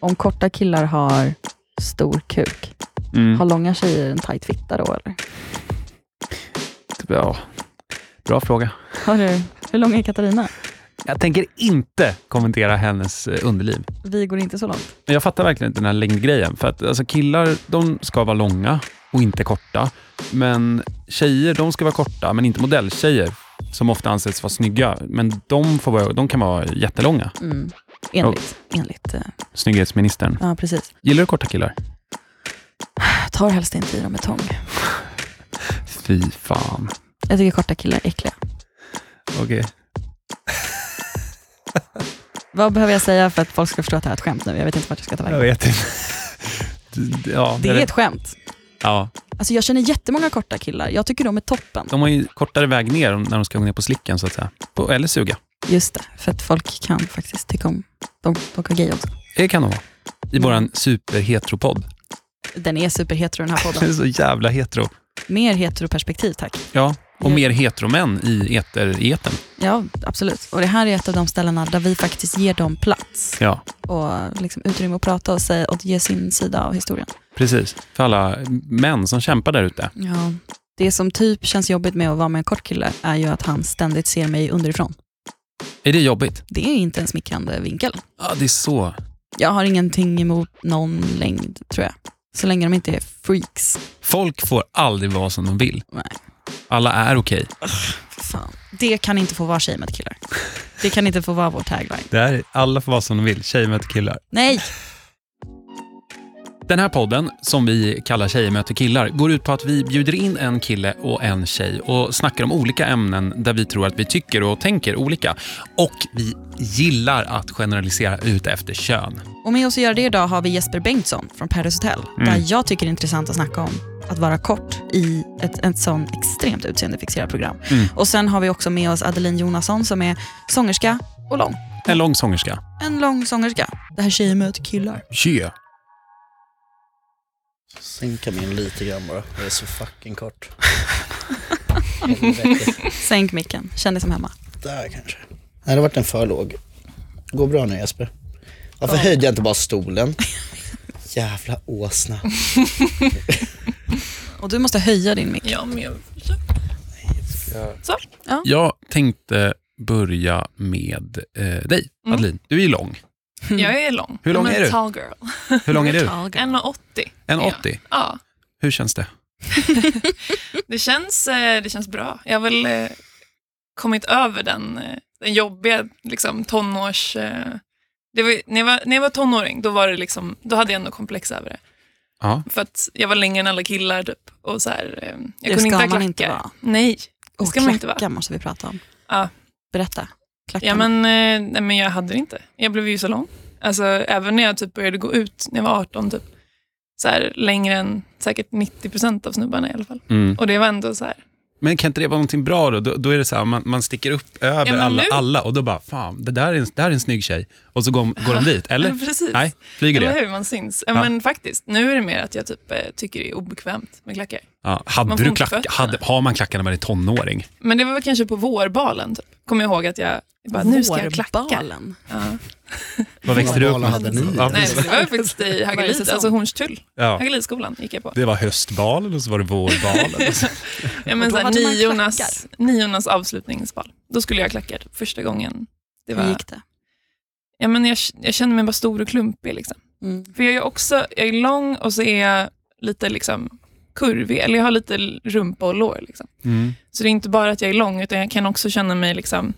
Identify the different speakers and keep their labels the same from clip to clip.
Speaker 1: Om korta killar har stor kuk,
Speaker 2: Mm.
Speaker 1: har långa tjejer en tajt fitta då eller?
Speaker 2: Typ, Ja. Bra fråga.
Speaker 1: Har du, hur lång är Katarina?
Speaker 2: Jag tänker inte kommentera hennes eh, underliv.
Speaker 1: Vi går inte så långt.
Speaker 2: Men Jag fattar verkligen inte den här längdgrejen. För att alltså, killar, de ska vara långa och inte korta. Men tjejer, de ska vara korta, men inte modelltjejer som ofta anses vara snygga. Men de, får vara, de kan vara jättelånga.
Speaker 1: Mm. Enligt, enligt, eh,
Speaker 2: Snygghetsministern.
Speaker 1: ja precis.
Speaker 2: Gillar du korta killar?
Speaker 1: Jag tar helst inte i dem med tång.
Speaker 2: Fy fan.
Speaker 1: Jag tycker korta killar är äckliga.
Speaker 2: Okej.
Speaker 1: Vad behöver jag säga för att folk ska förstå att det här är ett skämt nu? Jag vet inte vart jag ska ta vägen.
Speaker 2: vet inte. ja,
Speaker 1: Det
Speaker 2: jag
Speaker 1: är
Speaker 2: vet.
Speaker 1: ett skämt.
Speaker 2: Ja,
Speaker 1: Alltså jag känner jättemånga korta killar. Jag tycker de är toppen.
Speaker 2: de har ju kortare väg ner när de ska gå ner på slicken, så att säga. På, eller suga.
Speaker 1: Just det, för att folk kan faktiskt tycka om... De, de kan vara gay också.
Speaker 2: Det kan de vara. I
Speaker 1: Mm.
Speaker 2: våran superheteropodd.
Speaker 1: Den är superhetero den här
Speaker 2: Den
Speaker 1: podden.
Speaker 2: är så jävla hetero.
Speaker 1: Mer heteroperspektiv tack.
Speaker 2: Ja, och
Speaker 1: Ja.
Speaker 2: mer heteromän i eter, i etern.
Speaker 1: Ja, absolut. Och det här är ett av de ställena där vi faktiskt ger dem plats
Speaker 2: Ja,
Speaker 1: och liksom utrymme att prata och, säga, och ge sin sida av historien.
Speaker 2: precis. För alla män som kämpar där ute.
Speaker 1: Ja. Det som typ känns jobbigt med att vara med en kort kille är ju att han ständigt ser mig underifrån.
Speaker 2: Är det jobbigt?
Speaker 1: Det är inte en smickrande vinkel.
Speaker 2: Ja, det är så.
Speaker 1: Jag har ingenting emot någon längd, tror jag. Så länge de inte är freaks.
Speaker 2: Folk får aldrig vara som de vill.
Speaker 1: Nej.
Speaker 2: Alla är okej.
Speaker 1: För Fan. Det kan inte få vara tjej med killar. Det kan inte få vara vår tagline.
Speaker 2: Okay. Alla får vara som de vill. Tjejer möter killar.
Speaker 1: Nej!
Speaker 2: Den här podden, som vi kallar Tjejer möter killar, går ut på att vi bjuder in en kille och en tjej och snackar om olika ämnen där vi tror att vi tycker och tänker olika. Och vi gillar att generalisera ut efter kön.
Speaker 1: Och med oss att göra det idag har vi Jesper Bengtsson från Paradise Hotel.
Speaker 3: Mm.
Speaker 1: Där jag tycker det är intressant att snacka om att vara kort i ett, ett sånt extremt utseendefixerat program.
Speaker 2: Mm.
Speaker 1: Och sen har vi också med oss Adeline Jonasson som är sångerska och lång.
Speaker 2: En lång sångerska.
Speaker 1: En lång sångerska. Det här tjejer möter killar.
Speaker 2: Tjö.
Speaker 4: Sänka min lite grann bara. Det är så fucking kort. Helvete.
Speaker 1: Sänk micken, känn dig som hemma.
Speaker 4: Där kanske. Nej, det har varit en för låg. Går bra nu Jesper? Varför höjde jag inte bara stolen? Jävla åsna.
Speaker 1: Och du måste höja din mick.
Speaker 3: Ja, men jag...
Speaker 2: Jag tänkte börja med eh, dig,
Speaker 3: Mm.
Speaker 2: Adeline. Du är ju lång.
Speaker 1: Mm.
Speaker 3: jag är lång.
Speaker 2: Hur lång
Speaker 3: I'm a
Speaker 2: är du?
Speaker 3: Tall girl.
Speaker 2: Hur lång är du?
Speaker 3: 1,80.
Speaker 2: En 80.
Speaker 3: Ja,
Speaker 2: Hur känns det?
Speaker 3: det känns, eh, det känns bra. Jag har väl eh, kommit över den, eh, den jobbiga liksom, tonårs... eh, Det var, ju- när, jag var, när jag var tonåring, då, var det liksom, då hade jag ändå komplex över det.
Speaker 2: Ja.
Speaker 3: För att jag var längre än alla killar typ. Och så här, eh, jag
Speaker 1: Det
Speaker 3: kunde
Speaker 1: ska
Speaker 3: inte ha
Speaker 1: man
Speaker 3: klackar.
Speaker 1: inte vara.
Speaker 3: Nej. Det
Speaker 1: Och
Speaker 3: ska man inte vara.
Speaker 1: klackar måste vi prata om.
Speaker 3: Ja.
Speaker 1: Berätta. Klackarna.
Speaker 3: Ja, men, eh, nej, men jag hade det inte. Jag blev ju så lång. Alltså, även när jag typ började gå ut, när jag var 18, typ, så här, längre än säkert 90 procent av snubbarna i alla fall.
Speaker 2: Mm.
Speaker 3: Och det var ändå så här,
Speaker 2: Men kan inte det vara någonting bra då? Då, då är det så här, man, man sticker upp över
Speaker 3: Ja, men
Speaker 2: alla,
Speaker 3: nu-
Speaker 2: alla och då bara, fan, det där är en, det här är en snygg tjej. Och så går, går de dit, eller?
Speaker 3: precis.
Speaker 2: Nej, flyger
Speaker 3: Eller
Speaker 2: det?
Speaker 3: hur? Man syns. Ja,
Speaker 2: Ja.
Speaker 3: Men faktiskt, nu är det mer att jag typ, eh, tycker det är obekvämt med klackar.
Speaker 2: Ja.
Speaker 3: Man
Speaker 2: Hade
Speaker 3: får
Speaker 2: du
Speaker 3: ont i
Speaker 2: klack,
Speaker 3: fötterna.
Speaker 2: hade, har man klackar när man är tonåring?
Speaker 3: Men det var väl kanske på vårbalen, typ. kommer jag ihåg att jag bara, nu ska jag klacka.
Speaker 1: Vårbalen.
Speaker 3: Ja.
Speaker 2: Vad växte
Speaker 4: Vad
Speaker 2: du upp
Speaker 4: bala
Speaker 2: med?
Speaker 4: hade ni?
Speaker 2: Ja,
Speaker 3: Nej,
Speaker 2: precis.
Speaker 3: men det var ju faktiskt i
Speaker 1: Varje
Speaker 3: Hagelid,
Speaker 1: säsong.
Speaker 3: alltså Hornstull.
Speaker 2: ja.
Speaker 3: Hagelidskolan gick jag på.
Speaker 2: Det var höstbalen och så var det vårbalen. och så-
Speaker 3: Ja,
Speaker 1: Och
Speaker 3: men
Speaker 1: då
Speaker 3: så här,
Speaker 1: hade man
Speaker 3: niornas, niornas avslutningsbal. Då skulle jag klacka typ första gången. Det
Speaker 1: Hur
Speaker 3: var,
Speaker 1: gick det?
Speaker 3: ja, men jag, jag kände mig bara stor och klumpig. Liksom.
Speaker 1: Mm.
Speaker 3: För jag är också jag är lång och så är jag lite liksom, kurvig, eller jag har lite rumpa och lår. Liksom.
Speaker 2: Mm.
Speaker 3: Så det är inte bara att jag är lång, utan jag kan också känna mig liksom,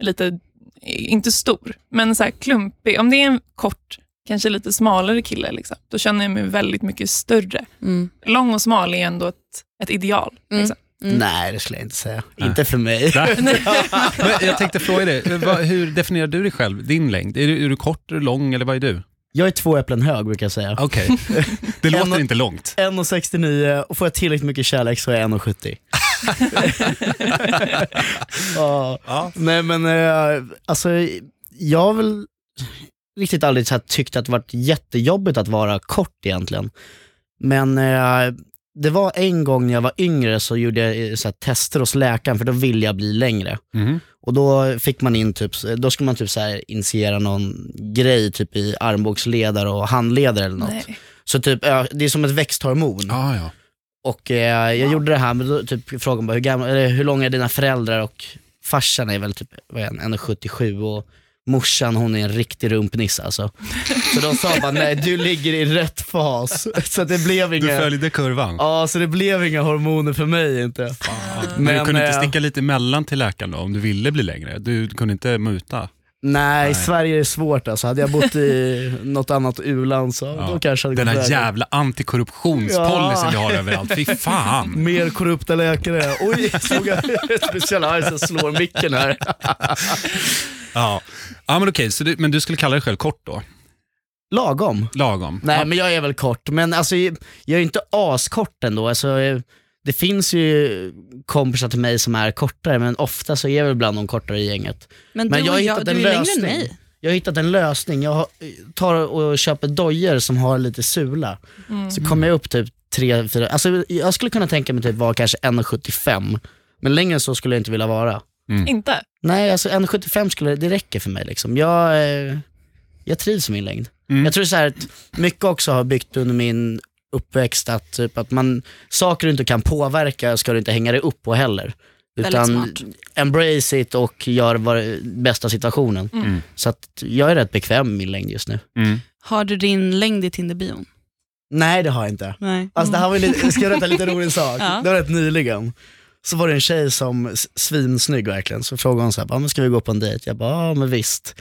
Speaker 3: lite, inte stor, men så här klumpig. Om det är en kort, kanske lite smalare kille, liksom, då känner jag mig väldigt mycket större.
Speaker 1: Mm.
Speaker 3: Lång och smal är ändå ett, ett ideal.
Speaker 1: Mm.
Speaker 3: Liksom.
Speaker 1: Mm.
Speaker 4: Nej, det skulle jag inte säga.
Speaker 2: Nej.
Speaker 4: Inte för mig.
Speaker 2: Men jag tänkte fråga dig, vad- hur definierar du dig själv, din längd? Är du, är du kort, är du lång eller vad är du?
Speaker 4: Jag är två äpplen hög brukar jag säga.
Speaker 2: Okej, det
Speaker 4: En-
Speaker 2: låter inte långt.
Speaker 4: 1,69 och får jag tillräckligt mycket kärlek så är jag 1,70. ja.
Speaker 2: Ja.
Speaker 4: Nej men eh, alltså, jag har väl riktigt aldrig så här tyckt att det varit jättejobbigt att vara kort egentligen. Men eh, Det var en gång när jag var yngre så gjorde jag eh, så här, tester hos läkaren för då ville jag bli längre.
Speaker 2: Mhm.
Speaker 4: Och då fick man in typ, då skulle man typ så här initiera någon grej typ i armbågsledare och handledare eller något.
Speaker 3: Nej.
Speaker 4: Så typ, ö- det är som ett växthormon.
Speaker 2: Ah, ja.
Speaker 4: Och eh, jag gjorde det här, men då typ frågade bara hur, gamla, eller, hur långa är dina föräldrar och farsan är väl typ vad är han, 1,77 och morsan hon är en riktig rumpnisse alltså. Så de sa bara nej du ligger i rätt fas. Så att det blev
Speaker 2: Du
Speaker 4: inga,
Speaker 2: följde kurvan.
Speaker 4: ja, så det blev inga hormoner för mig inte.
Speaker 2: Men, du
Speaker 4: Men,
Speaker 2: kunde inte
Speaker 4: eh,
Speaker 2: sticka lite emellan till läkaren då, om du ville bli längre? Du kunde inte muta?
Speaker 4: Nej, i
Speaker 2: Nej.
Speaker 4: Sverige är det svårt alltså. Hade jag bott i något annat u-land så
Speaker 2: Ja.
Speaker 4: då kanske jag hade
Speaker 2: Den här
Speaker 4: gått vägen.
Speaker 2: jävla antikorruptionspolicyn
Speaker 4: Ja.
Speaker 2: vi har överallt. Fy fan.
Speaker 4: Mer korrupta läkare. Oj, såg jag ett speciellt arg som slår micken här.
Speaker 2: Ja. ja, men okej, så du, men du skulle kalla dig själv kort då?
Speaker 4: Lagom.
Speaker 2: Lagom?
Speaker 4: Nej men jag är väl kort, men alltså, jag är ju inte askort ändå. Alltså, eh, det finns ju kompisar till mig som är kortare, men ofta så är jag väl bland de kortare i gänget.
Speaker 1: Men,
Speaker 4: Men
Speaker 1: du
Speaker 4: jag
Speaker 1: och
Speaker 4: har
Speaker 1: jag,
Speaker 4: hittat
Speaker 1: du är
Speaker 4: en
Speaker 1: längre än
Speaker 4: lösning.
Speaker 1: mig.
Speaker 4: Jag har hittat en lösning, jag har- tar och köper dojor som har lite sula. Så kommer jag upp typ 3-4, alltså, jag skulle kunna tänka mig typ vara kanske 1,75, men längre än så skulle jag inte vilja vara.
Speaker 3: Inte?
Speaker 4: Nej, alltså 1,75 skulle, det räcker för mig. Liksom. Jag, eh, jag trivs i min längd.
Speaker 2: Mm.
Speaker 4: Jag tror så här att mycket också har byggt under min uppväxt att, typ, att man, saker du inte kan påverka ska du inte hänga dig upp på heller.
Speaker 1: Väldigt
Speaker 4: Utan
Speaker 1: smart.
Speaker 4: embrace it och gör vad, bästa situationen.
Speaker 2: Mm.
Speaker 4: Så att jag är rätt bekväm med min längd just nu.
Speaker 2: Mm.
Speaker 1: Har du din längd i Tinderbion?
Speaker 4: Nej det har jag inte.
Speaker 1: Nej.
Speaker 4: Alltså det här var ju lite, jag ska berätta en liten rolig sak.
Speaker 1: Ja.
Speaker 4: Det var rätt nyligen. Så var det en tjej som, s- svinsnygg verkligen, så frågade hon så här, "Ah, men ska vi gå på en dejt? Jag bara, ja men visst.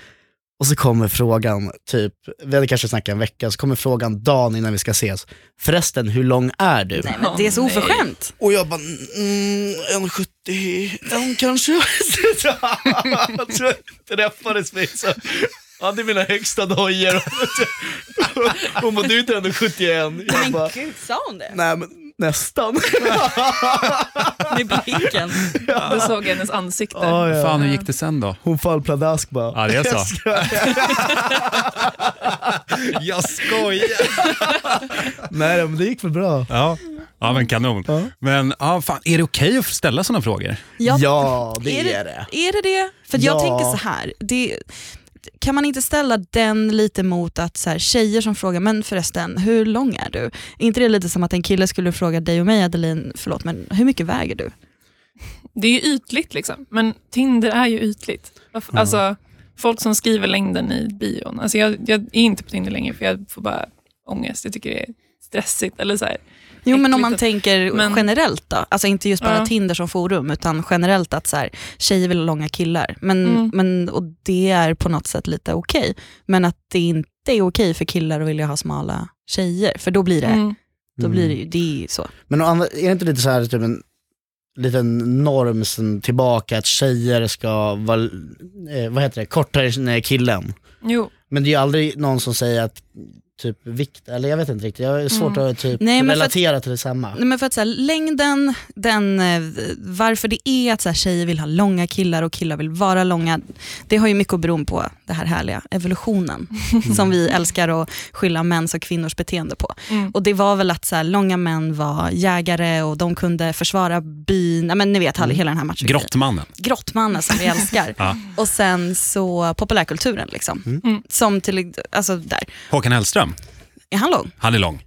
Speaker 4: Och så kommer frågan, typ, vi hade kanske snackat en vecka, så kommer frågan dagen innan vi ska ses. Förresten, hur lång är du?
Speaker 1: Nej, men det är så
Speaker 3: Åh, nej.
Speaker 1: oförskämt.
Speaker 4: Och jag bara, mm, 1,71 kanske? Så jag tror jag träffades med så. Ja, det är mina högsta dojor. Hon bara, du är inte 1,71. Jag bara,
Speaker 1: gud, sa hon det?
Speaker 4: nej men nästan.
Speaker 1: Med blicken.
Speaker 3: Du såg hennes ansikte.
Speaker 4: Ja, ja.
Speaker 2: Fan, hur gick det sen då?
Speaker 4: Hon fall pladask bara.
Speaker 2: Ja, det är så. Jag skojar.
Speaker 4: Nej men det gick väl bra.
Speaker 2: Ja, ja men kanon.
Speaker 4: Ja.
Speaker 2: Men ja, fan, är det okej att ställa sådana frågor?
Speaker 1: Ja,
Speaker 4: Ja,
Speaker 1: är
Speaker 4: det är
Speaker 1: det-
Speaker 4: det.
Speaker 1: Är det det? För att jag
Speaker 4: Ja.
Speaker 1: tänker så här, det, kan man inte ställa den lite mot att så här, tjejer som frågar, men förresten, hur lång är du? Är inte det lite som att en kille skulle fråga dig och mig, Adeline, förlåt, men hur mycket väger du?
Speaker 3: Det är ju ytligt liksom. Men Tinder är ju ytligt. Varför- Alltså, folk som skriver längden i bion. Alltså, jag, jag är inte på Tinder längre för jag får bara ångest. Jag tycker det är stressigt. Eller så här.
Speaker 1: Jo men om
Speaker 3: Äckligt
Speaker 1: man
Speaker 3: att-
Speaker 1: tänker
Speaker 3: men-
Speaker 1: generellt då, alltså inte just bara
Speaker 3: Ja.
Speaker 1: Tinder som forum utan generellt att så här, tjejer vill ha långa killar men,
Speaker 3: Mm.
Speaker 1: men, och det är på något sätt lite okej. Men att det inte är okej för killar att vilja ha smala tjejer för då blir det,
Speaker 3: Mm.
Speaker 1: då blir det, ju- det är ju så.
Speaker 4: Men å andra- är det inte lite så här typ en liten norm sen tillbaka att tjejer ska vara, eh, vad heter det, kortare än eh, killen?
Speaker 3: Jo,
Speaker 4: Men det är ju aldrig någon som säger att typ vikt, eller jag vet inte riktigt, jag är svårt att typ
Speaker 1: Mm. Nej, men för att-
Speaker 4: relatera till detsamma.
Speaker 1: Nej, men för att så här, längden, den, eh, varför det är att så här, tjejer vill ha långa killar och killar vill vara långa, det har ju mycket att bero på det här härliga evolutionen som vi älskar att skylla mäns och kvinnors beteende på.
Speaker 3: Mm.
Speaker 1: Och det var väl att så här, långa män var jägare och de kunde försvara byn, ja, men ni vet mm. hela den här matchen.
Speaker 2: Grottmannen.
Speaker 1: Grottmannen som vi älskar.
Speaker 2: Ja.
Speaker 1: Och sen så populärkulturen liksom.
Speaker 3: Mm.
Speaker 1: Som till, alltså där,
Speaker 2: Håkan Hellström,
Speaker 1: är han lång?
Speaker 2: han är lång.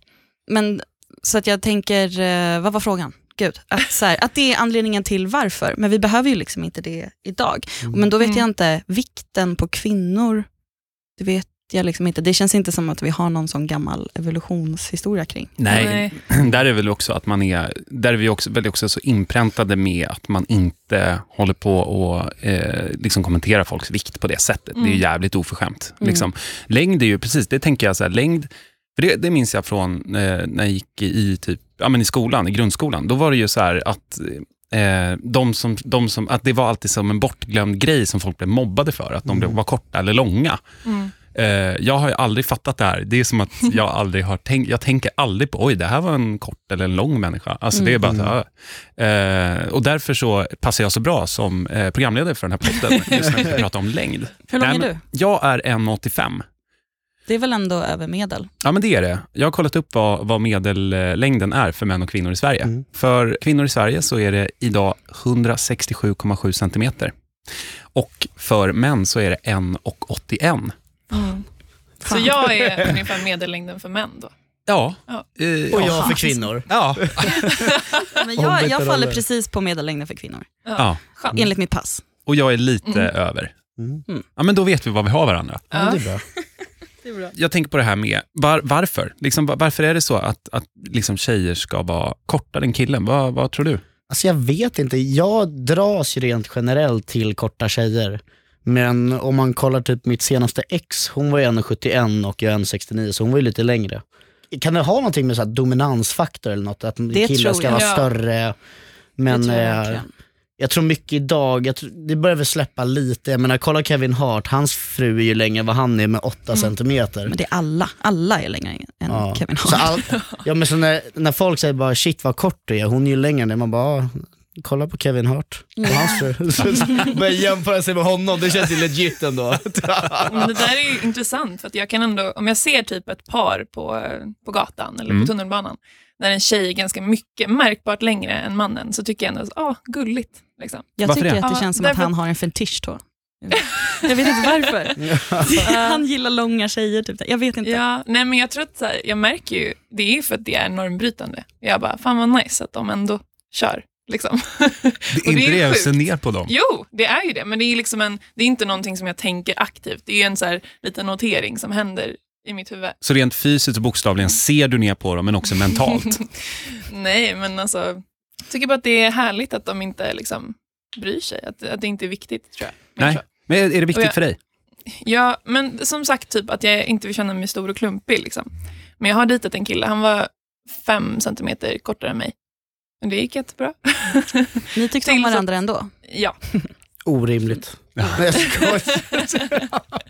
Speaker 1: Men så att jag tänker, eh, vad var frågan? Gud, att, så här, att det är anledningen till varför, men vi behöver ju liksom inte det idag. Men då vet
Speaker 3: Mm.
Speaker 1: jag inte, vikten på kvinnor, det vet jag liksom inte. Det känns inte som att vi har någon sån gammal evolutionshistoria kring.
Speaker 2: Nej, där är väl också att man är, där är vi också, väl också så inpräntade med att man inte håller på och eh, liksom kommentera folks vikt på det sättet. Det är ju jävligt oförskämt.
Speaker 1: Mm.
Speaker 2: Liksom. Längd är ju, precis, det tänker jag så här, längd, för det, det minns jag från eh, när jag gick i, i typ, ja, men i skolan, i grundskolan. Då var det ju så här att eh, de som, de som, att det var alltid som en bortglömd grej som folk blev mobbade för, att de blev, var korta eller långa.
Speaker 3: Mm.
Speaker 2: Eh, jag har ju aldrig fattat det här. Det är som att jag aldrig har tänkt, jag tänker aldrig på, oj, det här var en kort eller en lång människa. Alltså det är bara att, ja. eh, och därför så passar jag så bra som eh, programledare för den här podden, just när vi ska prata om längd.
Speaker 1: Hur lång
Speaker 2: Nej,
Speaker 1: är
Speaker 2: men
Speaker 1: du?
Speaker 2: Jag är 1,85.
Speaker 1: Det är väl ändå över medel?
Speaker 2: Ja, men det är det. Jag har kollat upp vad, vad medellängden är för män och kvinnor i Sverige.
Speaker 4: Mm.
Speaker 2: För kvinnor i Sverige så är det idag 167,7 centimeter. Och för män så är det 1,81.
Speaker 3: Mm. Så jag är ungefär medellängden för män då.
Speaker 2: Ja.
Speaker 3: Ja.
Speaker 2: eh,
Speaker 4: Och
Speaker 2: ja.
Speaker 4: jag för kvinnor.
Speaker 2: Ja.
Speaker 1: Men
Speaker 4: Ombytta
Speaker 1: jag, jag faller
Speaker 4: roller.
Speaker 1: precis på medellängden för kvinnor,
Speaker 2: ja.
Speaker 3: Skönt.
Speaker 1: enligt mitt pass.
Speaker 2: Och jag är lite
Speaker 3: Mm.
Speaker 2: över.
Speaker 4: Mm.
Speaker 2: Ja, men då vet vi vad vi har varandra.
Speaker 4: Ja, det
Speaker 3: Ja.
Speaker 4: är bra.
Speaker 2: Jag tänker på det här med var, varför. Liksom, va- varför är det så att, att liksom tjejer ska vara kortare än killen? Vad, vad tror du?
Speaker 4: Alltså jag vet inte, jag dras ju rent generellt till korta tjejer. Men om man kollar typ mitt senaste ex, hon var ju 1,71 och jag är 1,69 så hon var ju lite längre. Kan det ha någonting med så här dominansfaktor eller något? Att
Speaker 1: Det
Speaker 4: killar
Speaker 1: tror
Speaker 4: ska
Speaker 1: jag.
Speaker 4: vara
Speaker 3: Ja.
Speaker 4: större. Men
Speaker 1: det tror jag,
Speaker 4: eh,
Speaker 1: verkligen.
Speaker 4: jag tror mycket idag, jag tror, det börjar väl släppa lite. Jag menar kolla Kevin Hart, hans fru är ju längre än vad han är med
Speaker 1: Mm.
Speaker 4: 8 centimeter.
Speaker 1: men det är alla. Alla är längre än
Speaker 4: Ja.
Speaker 1: Kevin
Speaker 4: Så
Speaker 1: Hart.
Speaker 4: all, ja, men så när, när folk säger bara shit vad kort du är, hon är ju längre än det. Man bara, ah, kolla på Kevin Hart. och hans fru. Så Börja jämföra sig med honom, det känns ju legit ändå.
Speaker 3: Men det där är ju intressant, för att jag kan ändå, om jag ser typ ett par på, eh, på gatan eller
Speaker 2: Mm.
Speaker 3: på tunnelbanan, när en tjej är ganska mycket märkbart längre än mannen, så tycker jag ändå, ah, gulligt. Liksom.
Speaker 1: Jag
Speaker 2: Varför
Speaker 1: tycker
Speaker 2: det?
Speaker 1: att det
Speaker 3: Ja,
Speaker 1: känns som
Speaker 3: därför-
Speaker 1: att han har en fetisch då. Jag vet inte varför. han gillar långa tjejer, typ. jag vet inte.
Speaker 3: Ja, nej men jag tror att så här, jag märker ju, det är ju för att det är normbrytande. Jag bara, fan vad nice att de ändå kör. Liksom.
Speaker 2: Det
Speaker 3: är ju sjukt.
Speaker 2: ner på dem.
Speaker 3: Jo, det är ju det, men det är, liksom en, det är inte någonting som jag tänker aktivt. Det är ju en så här, liten notering som händer i mitt huvud.
Speaker 2: Så rent fysiskt och bokstavligen ser du ner på dem, men också mentalt.
Speaker 3: Nej, men alltså, jag tycker bara att det är härligt att de inte liksom bryr sig, att, att det inte är viktigt tror jag. Men
Speaker 2: Nej.
Speaker 3: jag
Speaker 2: Men är det viktigt
Speaker 3: Och jag-
Speaker 2: för dig?
Speaker 3: tror- Ja, men som sagt, typ att jag inte vill känna mig stor och klumpig. Liksom. Men jag har dejtat en kille, han var fem centimeter kortare än mig. Men det gick jättebra.
Speaker 1: Ni tyckte om
Speaker 3: Till så-
Speaker 1: varandra ändå?
Speaker 3: ja.
Speaker 4: Orimligt. Nej, jag skojar.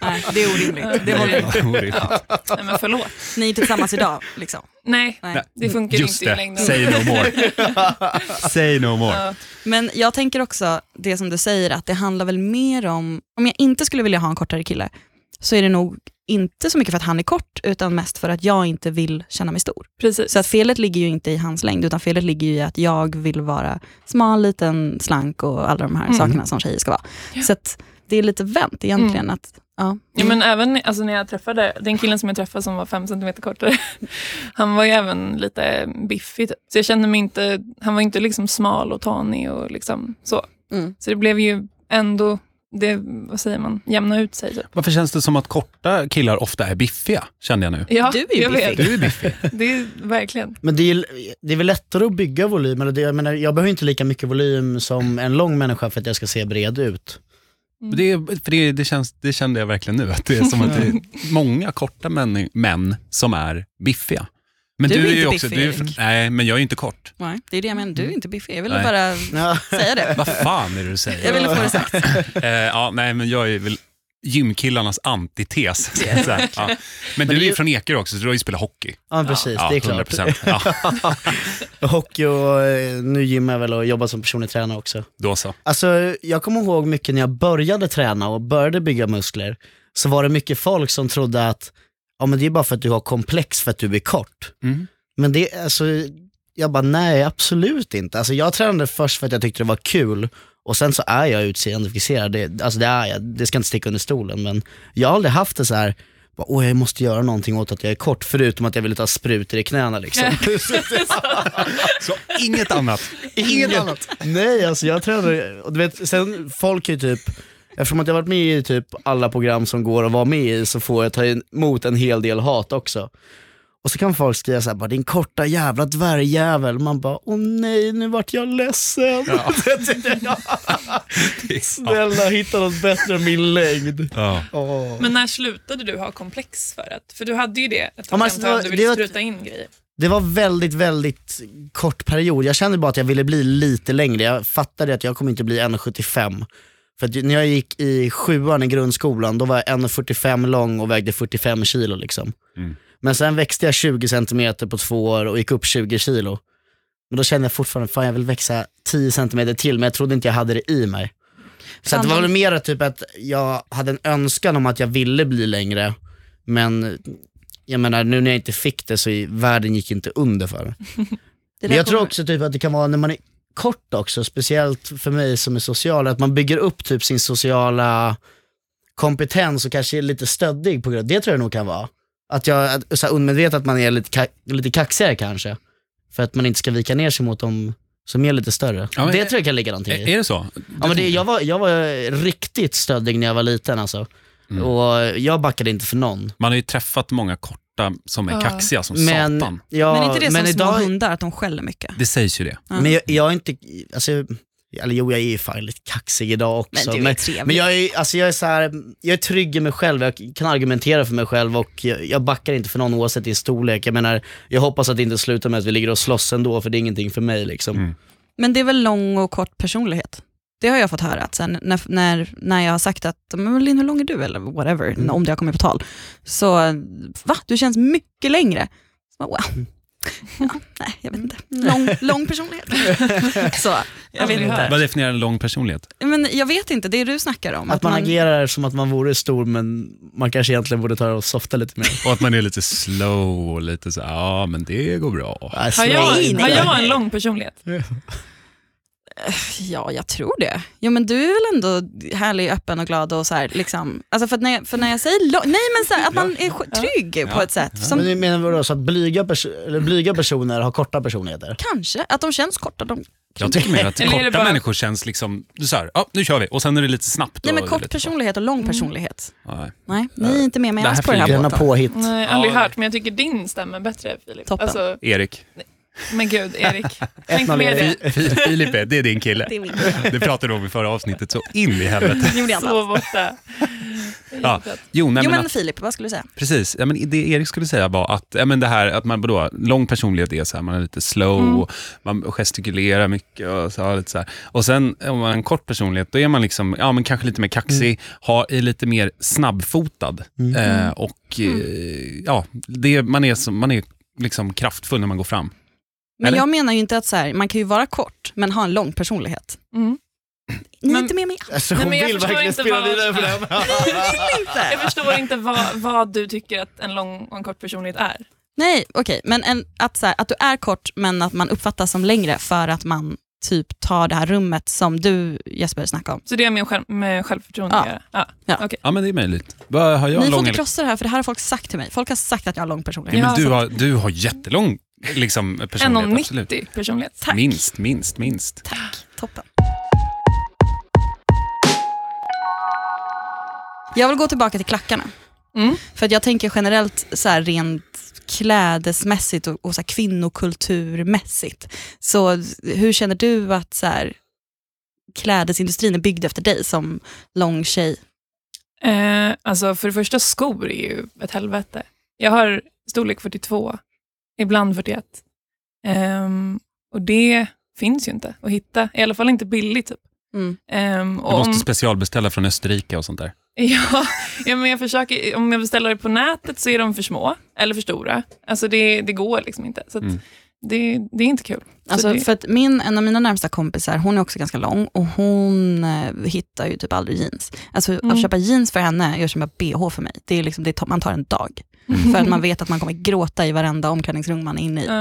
Speaker 1: Nej, det är orimligt.
Speaker 3: Det håller jag
Speaker 2: Ja.
Speaker 3: Nej, men förlåt.
Speaker 1: Ni är tillsammans idag. Liksom.
Speaker 3: Nej,
Speaker 1: Nej.
Speaker 2: Nej.
Speaker 3: det funkar
Speaker 2: Just
Speaker 3: inte i
Speaker 2: det,
Speaker 3: längden.
Speaker 2: say no more. Say no more.
Speaker 3: Ja.
Speaker 1: Men jag tänker också, det som du säger, att det handlar väl mer om, om jag inte skulle vilja ha en kortare kille, så är det nog inte så mycket för att han är kort, utan mest för att jag inte vill känna mig stor.
Speaker 3: Precis.
Speaker 1: Så att felet ligger ju inte i hans längd, utan felet ligger ju i att jag vill vara smal, liten, slank och alla de här
Speaker 3: Mm.
Speaker 1: sakerna som tjejer ska vara. Så att det är lite vänt egentligen. Att, ja.
Speaker 3: Mm.
Speaker 1: Mm,
Speaker 3: Ja, men även alltså, när jag träffade, den killen som jag träffade som var fem centimeter kortare, han var ju även lite biffig. Typ. Så jag kände mig inte, han var inte liksom smal och tanig och liksom så.
Speaker 1: Mm.
Speaker 3: Så det blev ju ändå, det, vad säger man, jämna ut sig typ.
Speaker 2: Varför känns det som att korta killar ofta är biffiga, kände jag nu?
Speaker 3: Ja,
Speaker 1: Du är ju
Speaker 3: jag vet.
Speaker 2: Du är biffig.
Speaker 3: Det är verkligen.
Speaker 4: Men det är, ju- det är väl lättare att bygga volym, eller det, jag, menar, jag behöver inte lika mycket volym som en lång människa för att jag ska se bred ut.
Speaker 2: Det, är- för det, det, känns, det kände jag verkligen nu, att det är som att det är många korta män, män som är biffiga. Men
Speaker 1: Du
Speaker 2: du,
Speaker 1: är
Speaker 2: är ju
Speaker 1: inte
Speaker 2: också,
Speaker 1: biffig,
Speaker 2: du, är från-
Speaker 1: Erik.
Speaker 2: Nej, men jag är ju inte kort.
Speaker 1: Nej, det är det jag menar, du är inte biffig. Jag ville
Speaker 2: Nej.
Speaker 1: bara
Speaker 4: Ja.
Speaker 1: säga det.
Speaker 2: Vad fan är det du säger?
Speaker 1: Jag ville få det sagt.
Speaker 2: Eh, ja, nej, men jag är väl gymkillarnas antites. så att säga. ja. Men du är
Speaker 4: det är
Speaker 2: ju
Speaker 4: ju-
Speaker 2: från Ekerö också, så du har ju spelat hockey.
Speaker 4: Ja precis,
Speaker 2: Ja,
Speaker 4: det är klart.
Speaker 2: 100%. Ja,
Speaker 4: Hockey och eh, nu gymmar jag väl och jobbar som personlig tränare också.
Speaker 2: då så.
Speaker 4: Alltså jag kommer ihåg mycket när jag började träna och började bygga muskler, så var det mycket folk som trodde att ja, men det är bara för att du har komplex för att du är kort.
Speaker 2: Mm.
Speaker 4: Men det, alltså, jag bara nej absolut inte. Alltså jag tränade först för att jag tyckte det var kul och sen så är jag utseendefixerad, det, alltså det är jag, det ska inte sticka under stolen men jag har aldrig haft det så här bara, Åh, jag måste göra någonting åt att jag är kort, förutom att jag ville ta sprutor i knäna liksom.
Speaker 2: Så inget annat.
Speaker 4: Inget annat. Nej, alltså jag tränar, och du vet, sen folk är ju typ, eftersom att jag varit med i typ alla program som går att vara med i så får jag ta emot en hel del hat också. Och så kan folk skriva såhär, bara, din korta jävla dvärgjävel, man bara, åh nej nu vart jag ledsen. Snälla hitta något bättre än min längd.
Speaker 2: Ja.
Speaker 4: Åh.
Speaker 3: Men när slutade du ha komplex för att, för du hade ju det ett
Speaker 4: Ja,
Speaker 3: tag
Speaker 4: men
Speaker 3: ja,
Speaker 4: alltså, det
Speaker 3: du ville
Speaker 4: var-
Speaker 3: spruta in grejer.
Speaker 4: Det var väldigt, väldigt kort period. Jag kände bara att jag ville bli lite längre. Jag fattade att jag kommer inte bli 1,75. För att när jag gick i sjuan i grundskolan, då var jag 1,45 lång och vägde 45 kilo. Liksom.
Speaker 2: Mm.
Speaker 4: Men sen växte jag 20 centimeter på två år och gick upp 20 kilo. Men då kände jag fortfarande, fan jag vill växa 10 centimeter till, men jag trodde inte jag hade det i mig. Så att det var väl mer typ att jag hade en önskan om att jag ville bli längre, Men jag menar, nu när jag inte fick det så i, världen gick inte under för det.
Speaker 1: Det
Speaker 4: Men
Speaker 1: där
Speaker 4: jag tror
Speaker 1: kommer-
Speaker 4: också typ att det kan vara när man är kort också, speciellt för mig som är social, att man bygger upp typ sin sociala kompetens och kanske är lite stöddig på grund det tror jag nog kan vara. Att jag, att, så här, undermedvetet att man är lite, ka- lite kaxigare kanske, för att man inte ska vika ner sig mot dem som är lite större.
Speaker 2: Ja, men-
Speaker 4: det tror jag kan ligga någonting i.
Speaker 2: Är, är det så?
Speaker 4: Ja, men det, jag, var, jag var riktigt stöddig när jag var liten alltså.
Speaker 2: Mm.
Speaker 4: Och jag backade inte för någon.
Speaker 2: Man har ju träffat många korta som är
Speaker 3: Ja.
Speaker 2: kaxiga som
Speaker 4: Men,
Speaker 2: satan.
Speaker 4: ja,
Speaker 1: Men är inte det
Speaker 4: men
Speaker 1: som små
Speaker 4: idag,
Speaker 1: hundar, att de skäller mycket?
Speaker 2: Det sägs ju det.
Speaker 1: Ja.
Speaker 4: Men jag, jag är inte, alltså, eller jo jag är ju fan lite kaxig idag
Speaker 1: Men
Speaker 4: också.
Speaker 1: du är
Speaker 4: Men,
Speaker 1: trevlig.
Speaker 4: men jag är, alltså jag är så här, jag är trygg i mig själv, jag kan argumentera för mig själv och jag, jag backar inte för någon oavsett i storlek. Jag menar, jag hoppas att det inte slutar med att vi ligger och slåss ändå för det är ingenting för mig liksom.
Speaker 2: Mm.
Speaker 1: Men det är väl lång och kort personlighet? Det har jag fått höra, att sen när, när, när jag har sagt att men Linn hur lång är du eller whatever,
Speaker 4: Mm.
Speaker 1: om det har kommit på tal. Så va, du känns mycket längre. Så, wow.
Speaker 4: Mm.
Speaker 1: ja, nej, jag vet inte. Lång, lång personlighet. så, jag vet
Speaker 3: Aldrig
Speaker 1: inte.
Speaker 3: hört.
Speaker 2: Vad definierar en lång personlighet?
Speaker 1: Men jag vet inte, det är du snackar om.
Speaker 4: Att man agerar som att man vore stor men man kanske egentligen borde ta och softa lite mer.
Speaker 2: Och att man är lite slow och lite så här, ja men det går bra.
Speaker 4: Alltså,
Speaker 3: Har jag,
Speaker 1: nej.
Speaker 3: har jag en lång personlighet?
Speaker 1: Ja, jag tror det. Jo, men du är väl ändå härlig, öppen och glad och så här, liksom. Alltså för att när jag, för när jag säger lång, nej men så här, att man är sk- trygg på ett sätt. Som,
Speaker 4: Men du menar vadå, så att blyga, pers- eller blyga personer har korta personligheter?
Speaker 1: Kanske, att de känns korta. De,
Speaker 2: Jag tycker mer att
Speaker 3: Eller är det
Speaker 2: korta
Speaker 3: bara-
Speaker 2: människor känns liksom, så här, ja nu kör vi och sen är det lite snabbt.
Speaker 1: nej men
Speaker 2: och lite
Speaker 1: kort
Speaker 2: så.
Speaker 1: personlighet och lång personlighet.
Speaker 2: Nej.
Speaker 1: Nej, ni är inte med mig
Speaker 2: Det här
Speaker 1: alls på den här
Speaker 4: Gärna
Speaker 1: båten.
Speaker 4: påhitt.
Speaker 3: Nej, aldrig
Speaker 2: Ja,
Speaker 3: hört, men jag tycker din stämmer bättre, Filip.
Speaker 1: Toppen.
Speaker 3: Alltså,
Speaker 2: Erik,
Speaker 3: men gud, Erik. Tänk på
Speaker 4: 1-0
Speaker 3: med det.
Speaker 4: Erik.
Speaker 2: Fi- Filip är- det är din kille.
Speaker 1: Det är min grej.
Speaker 2: Det pratade vi om i förra avsnittet så in i helvete.
Speaker 1: gjorde jag inte
Speaker 3: Så
Speaker 1: alls.
Speaker 3: borta.
Speaker 2: Ja. Jo, nej,
Speaker 1: Jo
Speaker 2: men
Speaker 1: men
Speaker 2: att,
Speaker 1: Filip, vad skulle du säga?
Speaker 2: precis. Ja, men det Erik skulle säga var att, ja, men det här, att man, då, lång personlighet är så här, man är lite slow,
Speaker 1: Mm.
Speaker 2: och man gestikulerar mycket och så, här, lite så här. Och sen om man har en kort personlighet, då är man liksom, ja, men kanske lite mer
Speaker 1: Mm.
Speaker 2: kaxig, har, är lite mer snabbfotad.
Speaker 4: Mm.
Speaker 2: Eh, och
Speaker 1: Mm.
Speaker 2: eh, ja, det, man är, som, man är liksom kraftfull när man går fram.
Speaker 1: Men
Speaker 2: Eller?
Speaker 1: jag menar ju inte att så här, man kan ju vara kort men ha en lång personlighet.
Speaker 3: Mm.
Speaker 1: Ni är
Speaker 3: Men-
Speaker 1: inte med mig alls.
Speaker 4: Alltså,
Speaker 3: Nej,
Speaker 4: hon
Speaker 3: men jag
Speaker 4: vill
Speaker 3: förstår
Speaker 4: verkligen
Speaker 3: inte
Speaker 4: spela
Speaker 3: vad-
Speaker 4: vidare på den.
Speaker 1: Inte.
Speaker 3: Jag förstår inte vad, vad du tycker att en lång och en kort personlighet är.
Speaker 1: Nej, okej. Men en, att, så här, att du är kort men att man uppfattas som längre för att man typ tar det här rummet som du Jesper snackade om.
Speaker 3: Så det har med, själv, med självförtroende
Speaker 1: Ja.
Speaker 3: att göra. Ja.
Speaker 2: Ja, men det är möjligt. Vad har jag
Speaker 1: Ni får
Speaker 2: lång
Speaker 1: inte
Speaker 2: eller
Speaker 1: krossa det här för det här har folk sagt till mig. Folk har sagt att jag har lång personlighet.
Speaker 2: Nej, men
Speaker 3: Ja,
Speaker 2: du,
Speaker 3: sant.
Speaker 2: har, du har jättelång liksom, personlighet. absolut.
Speaker 3: 1,90 personlighet.
Speaker 1: Tack.
Speaker 2: Minst, minst, minst.
Speaker 1: Tack, toppen. Jag vill gå tillbaka till klackarna.
Speaker 3: Mm.
Speaker 1: För att jag tänker generellt så här, rent klädesmässigt och, och så här, kvinnokulturmässigt. Så hur känner du att så här, klädesindustrin är byggd efter dig som lång tjej?
Speaker 3: Eh, alltså för det första, skor är ju ett helvete. Jag har storlek 42, ibland 41. Ehm, och det finns ju inte att hitta, i alla fall inte billigt. Typ.
Speaker 1: Mm.
Speaker 3: Ehm,
Speaker 2: Du
Speaker 3: och
Speaker 2: måste
Speaker 3: om,
Speaker 2: specialbeställa från Österrike och sånt där.
Speaker 3: ja, ja, men jag försöker, om jag beställer det på nätet så är de för små eller för stora. Alltså det, det går liksom inte. Så att
Speaker 2: Mm.
Speaker 3: det, det är inte kul. Så
Speaker 1: Alltså,
Speaker 3: det,
Speaker 1: för att min, en av mina närmsta kompisar, hon är också ganska lång och hon eh, hittar ju typ aldrig jeans. Alltså
Speaker 3: Mm.
Speaker 1: att köpa jeans för henne är att köpa bh för mig. Det är liksom, det tar, man tar en dag. För att man vet att man kommer gråta i varenda omklädningsrum man är inne i.
Speaker 3: Mm.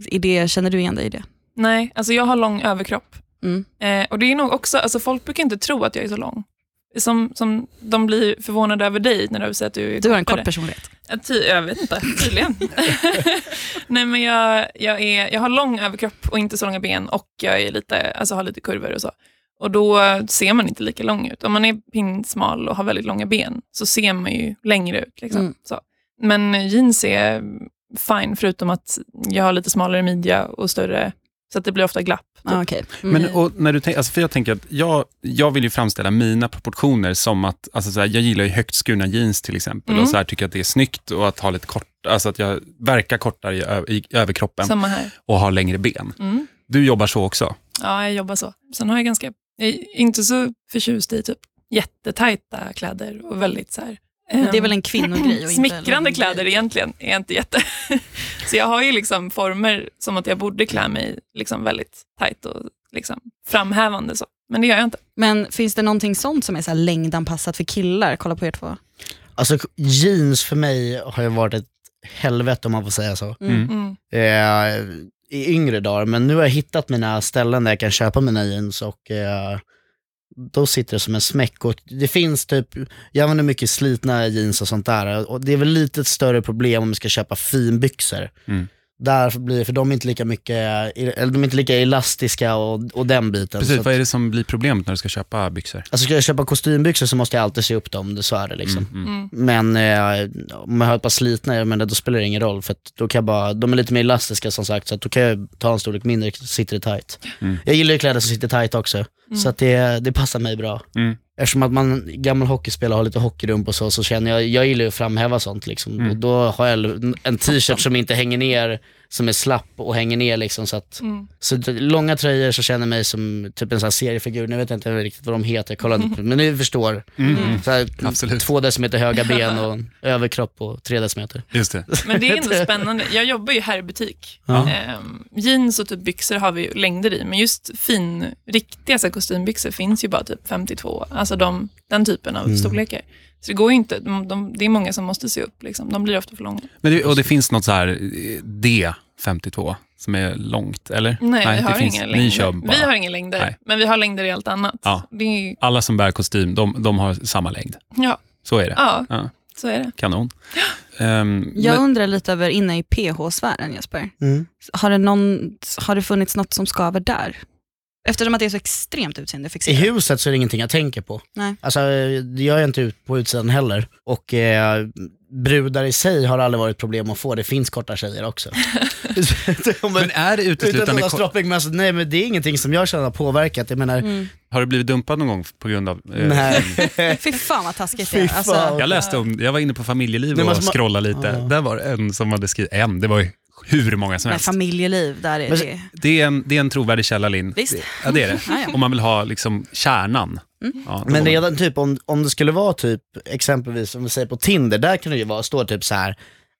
Speaker 3: Ja.
Speaker 1: i det känner du igen dig i det?
Speaker 3: nej, alltså jag har lång överkropp.
Speaker 1: Mm.
Speaker 3: Eh, och det är nog också, alltså folk brukar inte tro att jag är så lång. Som, som de blir förvånade över dig när du säger att du är
Speaker 1: Du har en kort
Speaker 3: kortare.
Speaker 1: personlighet.
Speaker 3: Ja, Ty, jag vet inte, tydligen. Nej, men jag, jag, är, jag har lång överkropp och inte så långa ben och jag är lite, alltså har lite kurvor och så. Och då ser man inte lika lång ut. Om man är pinsmal och har väldigt långa ben så ser man ju längre ut. Liksom.
Speaker 1: Mm.
Speaker 3: Så. Men jeans är fine, förutom att jag har lite smalare midja och större, så att det blir ofta glapp.
Speaker 1: Ah, okay. mm.
Speaker 2: Men, och när du tänk, alltså, för jag tänker att jag, jag vill ju framställa mina proportioner som att, alltså, så här, jag gillar ju högt skurna jeans till exempel
Speaker 3: Mm.
Speaker 2: och så här, tycker att det är snyggt och att ha lite kort, alltså att jag verkar kortare i, ö- i överkroppen
Speaker 3: Typ. Samma här.
Speaker 2: och har längre ben.
Speaker 3: Mm.
Speaker 2: Du jobbar så också?
Speaker 3: Ja, jag jobbar så. Sen har jag ganska, jag är inte så förtjust i typ jättetajta kläder och väldigt så här...
Speaker 1: Men det är
Speaker 3: ehm,
Speaker 1: väl en kvinnogrej? och inte en
Speaker 3: Smickrande
Speaker 1: lång
Speaker 3: kläder
Speaker 1: grej.
Speaker 3: egentligen är jag inte jätte... så jag har ju liksom former som att jag borde klä mig liksom väldigt tajt och liksom framhävande. Så. Men det gör jag inte.
Speaker 1: Men finns det någonting sånt som är så här längdanpassat för killar? Kolla på er två.
Speaker 4: Alltså jeans för mig har ju varit ett helvete om man får säga så.
Speaker 1: Mm.
Speaker 3: Mm.
Speaker 4: eh, i yngre dagar, men nu har jag hittat mina ställen där jag kan köpa mina jeans och eh, då sitter det som en smäck. Och det finns typ, jag använder mycket slitna jeans och sånt där och det är väl lite ett större problem om man ska köpa finbyxor.
Speaker 2: Mm.
Speaker 4: Där blir för de är inte lika mycket, eller de är inte lika elastiska och, och den biten.
Speaker 2: Precis,
Speaker 4: Så att,
Speaker 2: vad är det som blir problemet när du ska köpa byxor?
Speaker 4: alltså ska jag köpa kostymbyxor så måste jag alltid se upp dem, så är det liksom.
Speaker 2: Mm, mm.
Speaker 3: Mm.
Speaker 4: Men eh, om jag har ett par slitna, men då spelar det ingen roll för att då kan jag bara, de är lite mer elastiska som sagt så att då kan jag ta en storlek mindre, sitter det tight.
Speaker 2: Mm.
Speaker 4: Jag gillar ju kläder som sitter tight också, så att det, det passar mig bra.
Speaker 2: Mm.
Speaker 4: Eftersom att man gammal hockeyspelare har lite hockeyrump och så, så känner jag, jag gillar ju att framhäva sånt liksom.
Speaker 2: Mm.
Speaker 4: Och då har jag en t-shirt som inte hänger ner, som är slapp och hänger ner liksom så att,
Speaker 3: Mm.
Speaker 4: så t- långa tröjor så känner jag mig som typ en sån här seriefigur, nu vet jag inte riktigt vad de heter, jag kollar inte, på- men ni förstår.
Speaker 2: Mm.
Speaker 3: Mm.
Speaker 4: Så här,
Speaker 2: Absolut.
Speaker 4: Två decimeter höga ben och en överkropp på tre decimeter.
Speaker 2: Just det.
Speaker 3: Men det är ändå spännande. Jag jobbar ju här i butik.
Speaker 4: Ja.
Speaker 3: Ehm, jeans och typ byxor har vi ju längder i, men just fin, riktiga så här, kostymbyxor finns ju bara typ 52. Alltså de, den typen av storlekar. Så det går ju inte. De, de, det är många som måste se upp. Liksom. De blir ofta för långa.
Speaker 2: Men det, och det finns något så här eh, D52 som är långt, eller?
Speaker 3: Nej, vi har
Speaker 2: det finns,
Speaker 3: inga
Speaker 2: Ni kör
Speaker 3: längder.
Speaker 2: bara.
Speaker 3: Vi har inga längder,
Speaker 2: Nej.
Speaker 3: men vi har längder i allt annat.
Speaker 2: Ja.
Speaker 3: Det är,
Speaker 2: Alla som bär kostym, de, de har samma längd.
Speaker 3: ja,
Speaker 2: Så är det.
Speaker 3: ja,
Speaker 2: Ja.
Speaker 3: så är det.
Speaker 2: Kanon. Ehm,
Speaker 1: Jag
Speaker 2: men-
Speaker 1: undrar lite över inne i PH-sfären Jesper. Har det, någon, har det funnits något som skaver där? Eftersom att det är så extremt
Speaker 4: I
Speaker 1: utseendefixerat.
Speaker 4: huset så är det ingenting jag tänker på.
Speaker 1: Nej.
Speaker 4: Alltså, eh, det gör jag inte ut på utsidan heller. Och eh, brudar i sig har aldrig varit problem att få, det finns korta tjejer också. men,
Speaker 2: men är det
Speaker 4: utan att
Speaker 2: uteslutande...
Speaker 4: hålla
Speaker 2: ko-
Speaker 4: stropping, men alltså, nej men det är ingenting som jag känner har påverkat. Jag menar,
Speaker 1: Mm.
Speaker 2: Har du blivit dumpad någon gång på grund av... eh,
Speaker 4: nej.
Speaker 1: Fy fan vad taskigt det
Speaker 4: Fy
Speaker 1: är.
Speaker 4: fan.
Speaker 1: Alltså,
Speaker 2: Jag läste om, jag var inne på familjeliv
Speaker 4: Nej, men
Speaker 2: och
Speaker 4: alltså man-
Speaker 2: scrollade lite.
Speaker 4: Ja.
Speaker 2: Där var det en som hade skrivit, en, det var ju hur många som
Speaker 1: med
Speaker 2: helst.
Speaker 1: familjeliv, där är
Speaker 4: Men-
Speaker 1: det.
Speaker 2: Det är, en, det är en trovärdig källa, Linn.
Speaker 1: Visst.
Speaker 2: Det- Ja, det är det.
Speaker 1: Ja, ja.
Speaker 2: Om man vill ha liksom kärnan.
Speaker 1: Mm.
Speaker 2: Ja, då-
Speaker 4: Men redan typ om, om det skulle vara typ exempelvis om vi säger på Tinder, där kan det ju vara, stå typ så här.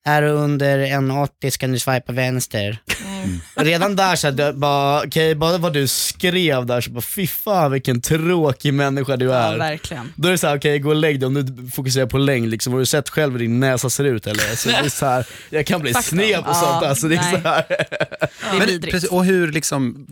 Speaker 4: Är du under 1,80 ska du swipa vänster.
Speaker 3: Mm.
Speaker 4: Redan där så här, bara, okej, bara vad du skrev där så bara fy fan vilken tråkig människa du
Speaker 1: Ja,
Speaker 4: är.
Speaker 1: verkligen.
Speaker 4: då är det så här, okej gå och lägg dig om du fokuserar på längd liksom, har du sett själv hur din näsa ser ut eller? Så det är så här, jag kan bli
Speaker 1: Faktum.
Speaker 4: sned på
Speaker 1: Ja,
Speaker 4: sånt alltså, det är
Speaker 1: nej.
Speaker 4: så här.
Speaker 1: Det är
Speaker 2: Men
Speaker 1: vidrigt.
Speaker 2: precis, och hur liksom,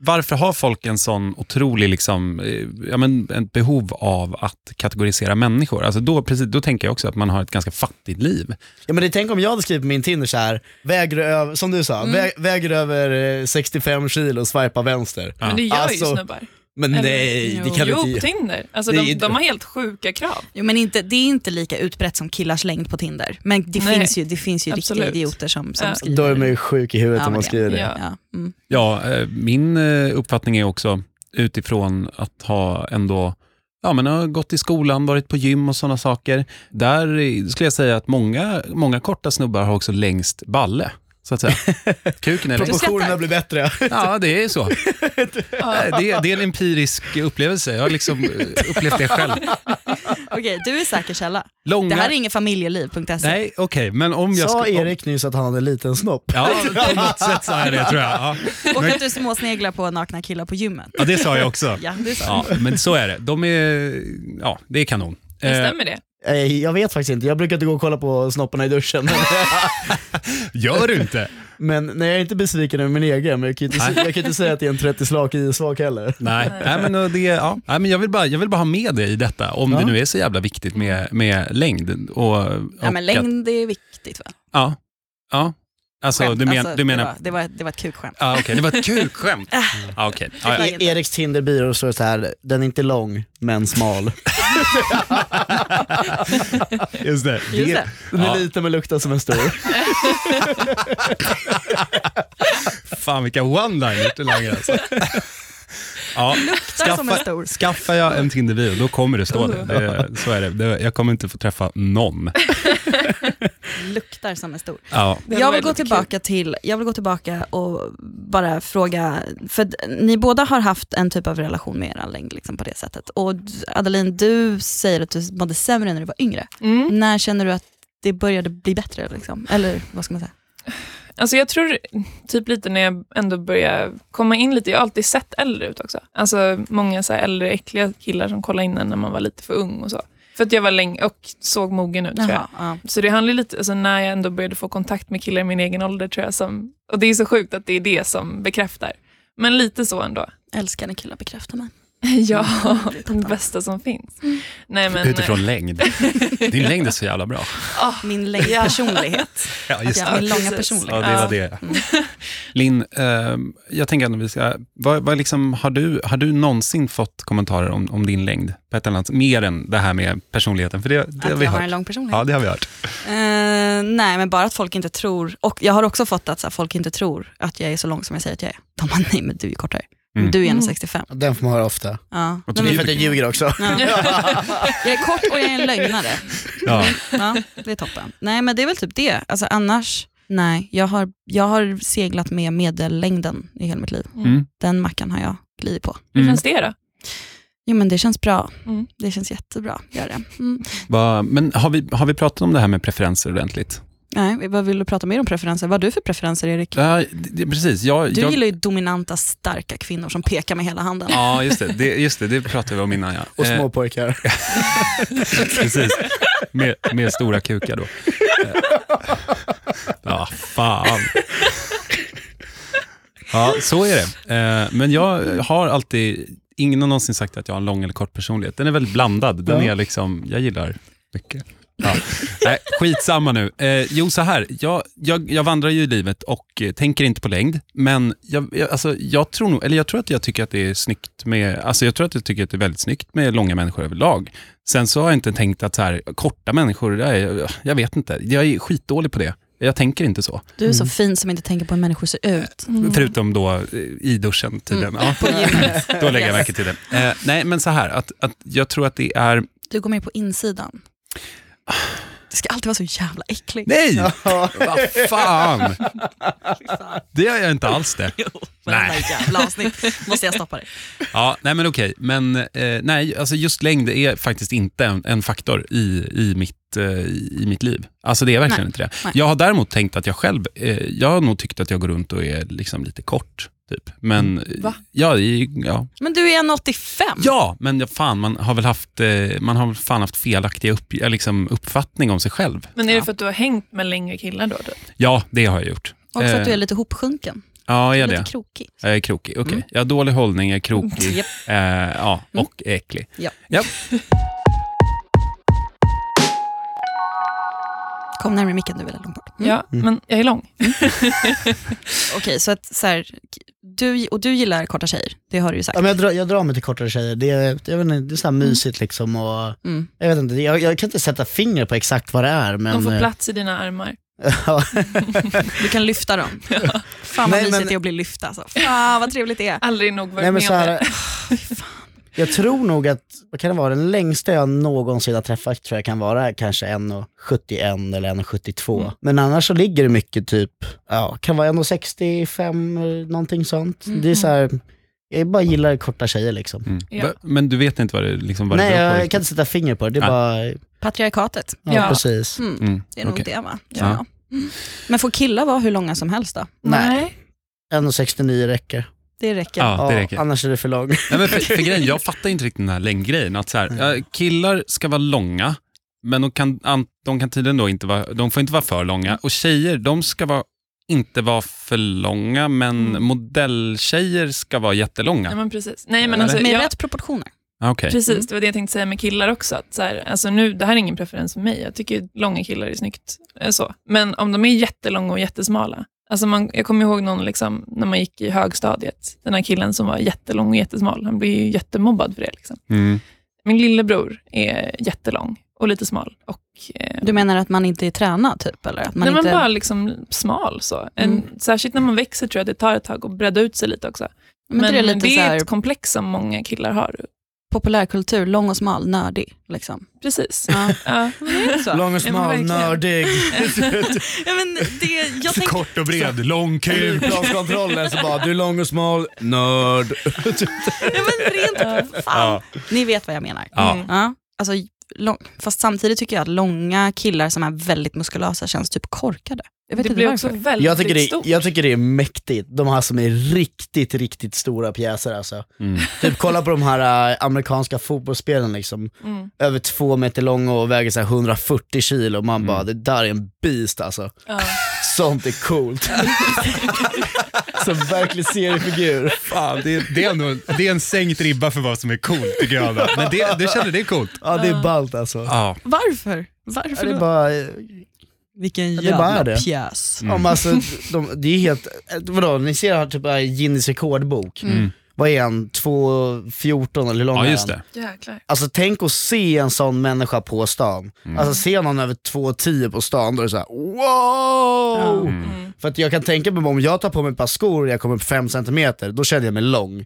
Speaker 2: varför har folk en sån otrolig, liksom, eh, ja, men ett behov av att kategorisera människor? Alltså då, precis, då tänker jag också att man har ett ganska fattigt liv.
Speaker 4: Ja men det, tänk om jag hade skrivit på min Tinder så här, väger du över, som du sa, vä- väger du över eh, 65 kilo, swipa vänster.
Speaker 2: Ja.
Speaker 3: Men det gör
Speaker 4: Alltså,
Speaker 3: ju snubbar.
Speaker 4: Men
Speaker 3: Eller-
Speaker 4: nej, det kan
Speaker 3: jo,
Speaker 4: du inte
Speaker 3: Tinder. Alltså,
Speaker 4: Det är
Speaker 3: de,
Speaker 4: inte-
Speaker 3: de har helt sjuka krav.
Speaker 1: Jo, men inte, det är inte lika utbrett som killars längd på Tinder. Men det
Speaker 3: Nej.
Speaker 1: finns ju, det finns ju riktiga
Speaker 3: Absolut.
Speaker 1: idioter som, som
Speaker 3: Ja.
Speaker 1: skriver.
Speaker 4: Då är man ju sjuk i huvudet
Speaker 1: Ja, men
Speaker 4: om man
Speaker 1: det-
Speaker 4: skriver det.
Speaker 3: ja.
Speaker 1: ja. mm.
Speaker 2: Ja, eh, min eh, uppfattning är också utifrån att ha ändå Ja, men jag har gått i skolan, varit på gym och sådana saker. Där eh, skulle jag säga att många, många korta snubbar har också längst balle, så att säga. Kuken är längst.
Speaker 4: Proportionerna blir bättre.
Speaker 2: Ja, det är så. Eh,
Speaker 3: Ja.
Speaker 2: Det, det är en empirisk upplevelse. Jag har liksom eh, upplevt det själv.
Speaker 1: Okej, du är säker källa.
Speaker 2: Långa...
Speaker 1: Det här är inget familjeliv.se.
Speaker 2: Nej, okej, men om jag
Speaker 4: Sa
Speaker 2: ska... om-
Speaker 4: Erik nyss att han hade en liten snopp?
Speaker 2: Ja, på något sätt sa jag det tror jag. Ja,
Speaker 1: Och att du småsneglar på nakna killar på gymmet.
Speaker 2: ja det sa jag också.
Speaker 1: Ja, det är så.
Speaker 2: Ja, men så är det. De är... Ja, det är kanon.
Speaker 3: Men
Speaker 2: Eh,
Speaker 3: stämmer det?
Speaker 4: Eh, Jag vet faktiskt inte, jag brukar inte gå och kolla på snopparna i duschen.
Speaker 2: Eh, gör du inte?
Speaker 4: Men nej, jag är inte besviken över min egen, men jag kan ju inte,
Speaker 2: Nej.
Speaker 4: jag kan ju inte säga att det är en 30 slak i svag heller.
Speaker 2: Nej, Nej men, och det, ja. Nej, men jag, vill bara, jag vill bara ha med det i detta, om det nu är så jävla viktigt med, med längd. Och,
Speaker 1: Ja,
Speaker 2: och
Speaker 1: men
Speaker 2: Att,
Speaker 1: längd är viktigt va?
Speaker 2: ja, ja. Alltså,
Speaker 1: Skämt.
Speaker 2: du, men,
Speaker 1: Alltså,
Speaker 2: du menar...
Speaker 1: Det var, Ah. det var, det var ett kukskämt.
Speaker 2: Ja, okej, det var ett kul skämt. Ja, okej. Ja, ja.
Speaker 1: Nej,
Speaker 4: E-
Speaker 1: inte.
Speaker 4: Eriks Tinderbyrå står så här, den är inte lång, men smal.
Speaker 2: Just det.
Speaker 1: Just det.
Speaker 4: Den är
Speaker 2: Ja.
Speaker 4: liten men luktar som en stor.
Speaker 2: Fan vilka one-liners du langar alltså. Ja,
Speaker 1: Luktar som en stor.
Speaker 2: skaffar jag en Tinder-bio, då kommer det stå
Speaker 1: Oh.
Speaker 2: det. det så är det. det. Jag kommer inte få träffa någon.
Speaker 1: Luktar som en stor.
Speaker 2: Ja,
Speaker 3: Det hade
Speaker 1: Jag vill,
Speaker 3: varit
Speaker 1: gå
Speaker 3: lite
Speaker 1: tillbaka till, jag vill gå tillbaka och bara fråga, för d- ni båda har haft en typ av relation med er längd liksom på det sättet. Och d- Adeline, du säger att du mådde sämre när du var yngre.
Speaker 3: kul. Mm.
Speaker 1: När känner du att det började bli bättre? Liksom? Eller vad ska man säga?
Speaker 3: Alltså jag tror typ lite när jag ändå börjar komma in lite, jag har alltid sett äldre ut också. Alltså många så här äldre äckliga killar som kollade in en när man var lite för ung och så. För att jag var länge och såg mogen ut tror jag.
Speaker 1: Jaha, ja.
Speaker 3: Så det handlar ju lite, alltså när jag ändå började få kontakt med killar i min egen ålder tror jag som, och det är så sjukt att det är det som bekräftar. Men lite så ändå.
Speaker 1: Älskar när killar bekräftar mig.
Speaker 3: Ja,
Speaker 1: det är
Speaker 3: det
Speaker 1: pappa.
Speaker 3: bästa som finns. Nej, men, eh,
Speaker 2: Utifrån längd. Din längd är så jävla bra.
Speaker 1: Min längd personlighet.
Speaker 2: Ah. Ja,
Speaker 1: Att
Speaker 2: just
Speaker 1: jag, min
Speaker 3: det.
Speaker 1: långa
Speaker 3: Precis.
Speaker 2: Ja,
Speaker 1: personlighet. Mm.
Speaker 2: det var det. Linn, eh, jag tänker att vi ska... Vad, vad liksom, har, du, har du någonsin fått kommentarer om, om din längd? På ett eller annat, mer än det här med personligheten? För det, det har
Speaker 1: Att
Speaker 2: vi
Speaker 1: jag har en
Speaker 2: hört.
Speaker 1: lång personlighet.
Speaker 2: Ja, det har vi hört.
Speaker 1: Eh, nej, men bara att folk inte tror. Och jag har också fått att så här, folk inte tror att jag är så lång som jag säger att jag är. De bara, nej men du är ju kortare.
Speaker 2: Mm.
Speaker 1: Du är
Speaker 3: Mm.
Speaker 1: 1,65.
Speaker 4: Den får man höra ofta.
Speaker 1: Ja. Nej,
Speaker 2: Och du-
Speaker 1: men,
Speaker 4: För att jag ljuger också.
Speaker 1: jag är kort och jag är en lögnare.
Speaker 2: Ja.
Speaker 1: Ja, det är toppen. Nej men det är väl typ det. Alltså annars, nej. Jag har, jag har seglat med medellängden i hela mitt liv.
Speaker 2: Mm.
Speaker 1: Den mackan har jag glidit på.
Speaker 3: Hur
Speaker 2: Mm.
Speaker 3: känns det då?
Speaker 1: Jo men det känns bra.
Speaker 3: Mm.
Speaker 1: Det känns jättebra. Gör det. Mm.
Speaker 2: Va, men har vi, har vi pratat om det här med preferenser ordentligt?
Speaker 1: Nej, vad vill du prata mer om preferenser? Vad har du för preferenser Erik?
Speaker 2: Ja, det, precis. Jag,
Speaker 1: Du
Speaker 2: jag,
Speaker 1: gillar ju dominanta, starka kvinnor som pekar med hela handen.
Speaker 2: Ja, just det. det, just det, det pratade vi om innan. Ja.
Speaker 4: Och
Speaker 2: Eh,
Speaker 4: småpojkar.
Speaker 2: Precis. Med, med stora kukar då. Eh. Ja, fan. Ja, så är det. Eh, Men jag har alltid, ingen har någonsin sagt att jag har en lång eller kort personlighet. Den är väldigt blandad. Den
Speaker 4: Ja.
Speaker 2: är liksom, jag gillar mycket. Ja. Nej, skitsamma nu. Eh, jo, så här. Jag, jag, jag vandrar ju i livet och eh, tänker inte på längd, men jag, jag, alltså, jag tror nog, eller jag tror att jag tycker att det är snyggt med, alltså jag tror att jag tycker att det är väldigt snyggt med långa människor överlag. Sen så har jag inte tänkt att så här, korta människor, det är, jag vet inte, jag är skitdålig på det. Jag tänker inte så.
Speaker 1: Du är så fin som inte tänker på hur människor ser ut.
Speaker 2: Förutom då eh, i duschen tydligen.
Speaker 1: På
Speaker 2: Mm. Ja,
Speaker 1: gymmet.
Speaker 2: då lägger jag
Speaker 1: Yes.
Speaker 2: märke till det. Eh, nej, men så här, att, att jag tror att det är...
Speaker 1: Du går med på insidan. Det ska alltid vara så jävla äckligt.
Speaker 2: Nej! Vad fan! Det gör jag inte alls det.
Speaker 1: Jo, varenda
Speaker 2: Nej.
Speaker 1: jävla avsnitt måste jag stoppa dig.
Speaker 2: Ja, nej men okej. Men eh, nej, alltså just längd är faktiskt inte en, en faktor i, i, mitt, eh, i i mitt liv. Alltså det är verkligen
Speaker 1: Nej.
Speaker 2: inte det.
Speaker 1: Nej.
Speaker 2: Jag har däremot tänkt att jag själv, eh, jag har nog tyckt att jag går runt och är liksom lite kort. Typ. Men,
Speaker 1: Mm.
Speaker 3: Va?
Speaker 2: Ja, i- ja.
Speaker 1: Men du är 1,85.
Speaker 2: ja, men ja, fan, man har väl haft, eh, man har väl fan haft felaktiga upp, eh, liksom uppfattning om sig själv.
Speaker 3: Men är det för att du har hängt med längre killar då? typ? Du?
Speaker 2: Ja, det har jag gjort.
Speaker 1: Också
Speaker 2: Eh,
Speaker 1: att du är lite hopsjunken.
Speaker 2: Ja, är jag
Speaker 1: lite
Speaker 2: det?
Speaker 1: krokig.
Speaker 2: Jag är krokig. Okej,
Speaker 1: Mm.
Speaker 2: jag har dålig hållning, jag är krokig
Speaker 1: Japp.
Speaker 2: eh, ja, och äcklig.
Speaker 1: Ja.
Speaker 2: Ja.
Speaker 1: Kom närmare micken du eller långt bort. Mm.
Speaker 3: Ja, men jag är lång.
Speaker 1: Okej, så att så här, du, och du gillar korta tjejer, det har du ju sagt.
Speaker 4: Ja, men jag, drar, jag drar mig till kortare tjejer. Det, är- jag vet inte, det är så här mysigt liksom. Och,
Speaker 1: Mm.
Speaker 4: jag, vet inte, jag, jag kan inte sätta finger på exakt vad det är. Men,
Speaker 3: De får
Speaker 4: eh,
Speaker 3: plats i dina armar.
Speaker 4: ja.
Speaker 1: Du kan lyfta dem. Fan vad
Speaker 4: Nej,
Speaker 1: mysigt
Speaker 4: men-
Speaker 1: det är att bli lyfta. Alltså. Fan vad trevligt det är.
Speaker 3: Aldrig nog varit
Speaker 4: Nej, men
Speaker 3: med
Speaker 4: så
Speaker 3: om det.
Speaker 4: här, jag tror nog att, vad kan det vara, den längsta jag någonsin har träffat tror jag kan vara kanske 1,71 eller 1,72.
Speaker 3: Mm.
Speaker 4: Men annars så ligger det mycket typ, ja, kan vara 1,65 eller någonting sånt.
Speaker 3: Mm,
Speaker 4: Det är så här, jag bara gillar korta tjejer liksom.
Speaker 2: Mm.
Speaker 3: Ja.
Speaker 2: Va- Men du vet inte vad det, liksom, vad det
Speaker 4: Nej,
Speaker 2: beror på
Speaker 4: jag,
Speaker 2: riktigt?
Speaker 4: kan inte sätta finger på det. Det
Speaker 2: Nej.
Speaker 4: är bara, ja,
Speaker 1: Patriarkatet.
Speaker 3: Ja.
Speaker 4: precis.
Speaker 1: Mm.
Speaker 2: Mm,
Speaker 1: Det är nog
Speaker 2: okej.
Speaker 1: det va?
Speaker 2: Ja.
Speaker 1: Ja. Mm. Men får killar vara hur långa som helst då?
Speaker 4: Nej. 1,69 räcker.
Speaker 1: Det räcker.
Speaker 2: Ja, det räcker.
Speaker 4: annars är det för lång.
Speaker 2: Nej, men för, för grejen, jag fattar inte riktigt den här längdgrejen. Att så här,
Speaker 5: Mm.
Speaker 2: ja, killar ska vara långa, men de kan, an- de kan tydligen då inte vara, de får inte vara för
Speaker 5: Mm.
Speaker 2: långa. Och tjejer, de ska vara, inte vara för långa, men
Speaker 5: Mm.
Speaker 2: modelltjejer ska vara jättelånga.
Speaker 3: Nej, men precis. Nej, men
Speaker 2: Eller?
Speaker 3: alltså,
Speaker 1: Med
Speaker 3: jag,
Speaker 1: rätt proportioner.
Speaker 2: Ah, Okej.
Speaker 1: Mm.
Speaker 3: precis, det var det jag tänkte säga med killar också. Att så här, alltså nu, det här är ingen preferens för mig. Jag tycker ju långa killar är snyggt. eh, Så. Men om de är jättelånga och jättesmala. Alltså man, jag kommer ihåg någon liksom, när man gick i högstadiet. Den här killen som var jättelång och jättesmal. Han blev ju jättemobbad för det. Liksom.
Speaker 2: Mm.
Speaker 3: Min lillebror är jättelång och lite smal. Och, eh,
Speaker 1: Du menar att man inte är tränad typ? Eller att man
Speaker 3: nej,
Speaker 1: inte...
Speaker 3: men bara liksom smal så. En,
Speaker 1: Mm.
Speaker 3: Särskilt när man växer tror jag det tar ett tag att bredda ut sig lite också.
Speaker 1: men det är lite så här,
Speaker 3: ett komplex som många killar har.
Speaker 1: populärkultur, lång och smal, nördig. Liksom.
Speaker 3: Precis.
Speaker 1: Ja.
Speaker 3: Ja.
Speaker 1: Så.
Speaker 4: Lång och
Speaker 3: Ja, men
Speaker 4: smal,
Speaker 3: verkligen.
Speaker 4: nördig,
Speaker 1: Ja, men det, jag tänker
Speaker 2: Kort och bred, lång kuk.
Speaker 4: flygplanskontrollen så bara, du är lång och smal, nörd.
Speaker 1: ja, men rent, fan.
Speaker 2: Ja.
Speaker 1: Ni vet vad jag menar.
Speaker 2: Ja.
Speaker 3: Mm.
Speaker 1: Ja, alltså, lång, fast samtidigt tycker jag att långa killar som är väldigt muskulösa känns typ korkade. Jag vet
Speaker 3: Det
Speaker 1: inte
Speaker 3: blir också
Speaker 1: varför.
Speaker 3: väldigt
Speaker 4: Jag tycker, det,
Speaker 3: stort.
Speaker 4: jag tycker det är mäktigt, de här som är riktigt, riktigt stora pjäser alltså.
Speaker 2: Mm.
Speaker 4: Typ kolla på de här äh, amerikanska fotbollsspelen liksom,
Speaker 3: Mm,
Speaker 4: över två meter långa och väger så här 140 kilo, man
Speaker 2: Mm.
Speaker 4: bara det där är en beast alltså.
Speaker 3: ja.
Speaker 4: Sånt är coolt. Som verklig seriefigur.
Speaker 5: Fan, det, är- det, är ändå, det är en sänkt ribba för vad som är coolt tycker jag. Då. Men det, du känner det är coolt.
Speaker 4: Ja det är ballt alltså.
Speaker 2: Ja.
Speaker 1: Varför?
Speaker 4: Ja,
Speaker 1: Varför
Speaker 4: det är
Speaker 1: då?
Speaker 4: bara,
Speaker 1: Vilken
Speaker 4: det är bara
Speaker 1: jävla
Speaker 4: det.
Speaker 1: pjäs.
Speaker 2: Mm.
Speaker 4: om alltså, de, det är helt, eh, vadå, ni ser här typ här Guinness rekordbok.
Speaker 2: Mm.
Speaker 4: Vad är han, 2,14 eller hur lång
Speaker 2: ja,
Speaker 4: är
Speaker 2: just
Speaker 4: han?
Speaker 2: det.
Speaker 3: Jäklar.
Speaker 4: Alltså tänk att se en sån människa på stan. Alltså se någon över 2,10 på stan, då är det såhär wow!
Speaker 2: Mm.
Speaker 3: Mm.
Speaker 4: För att jag kan tänka mig om jag tar på mig ett par skor och jag kommer upp 5 cm, då känner jag mig lång.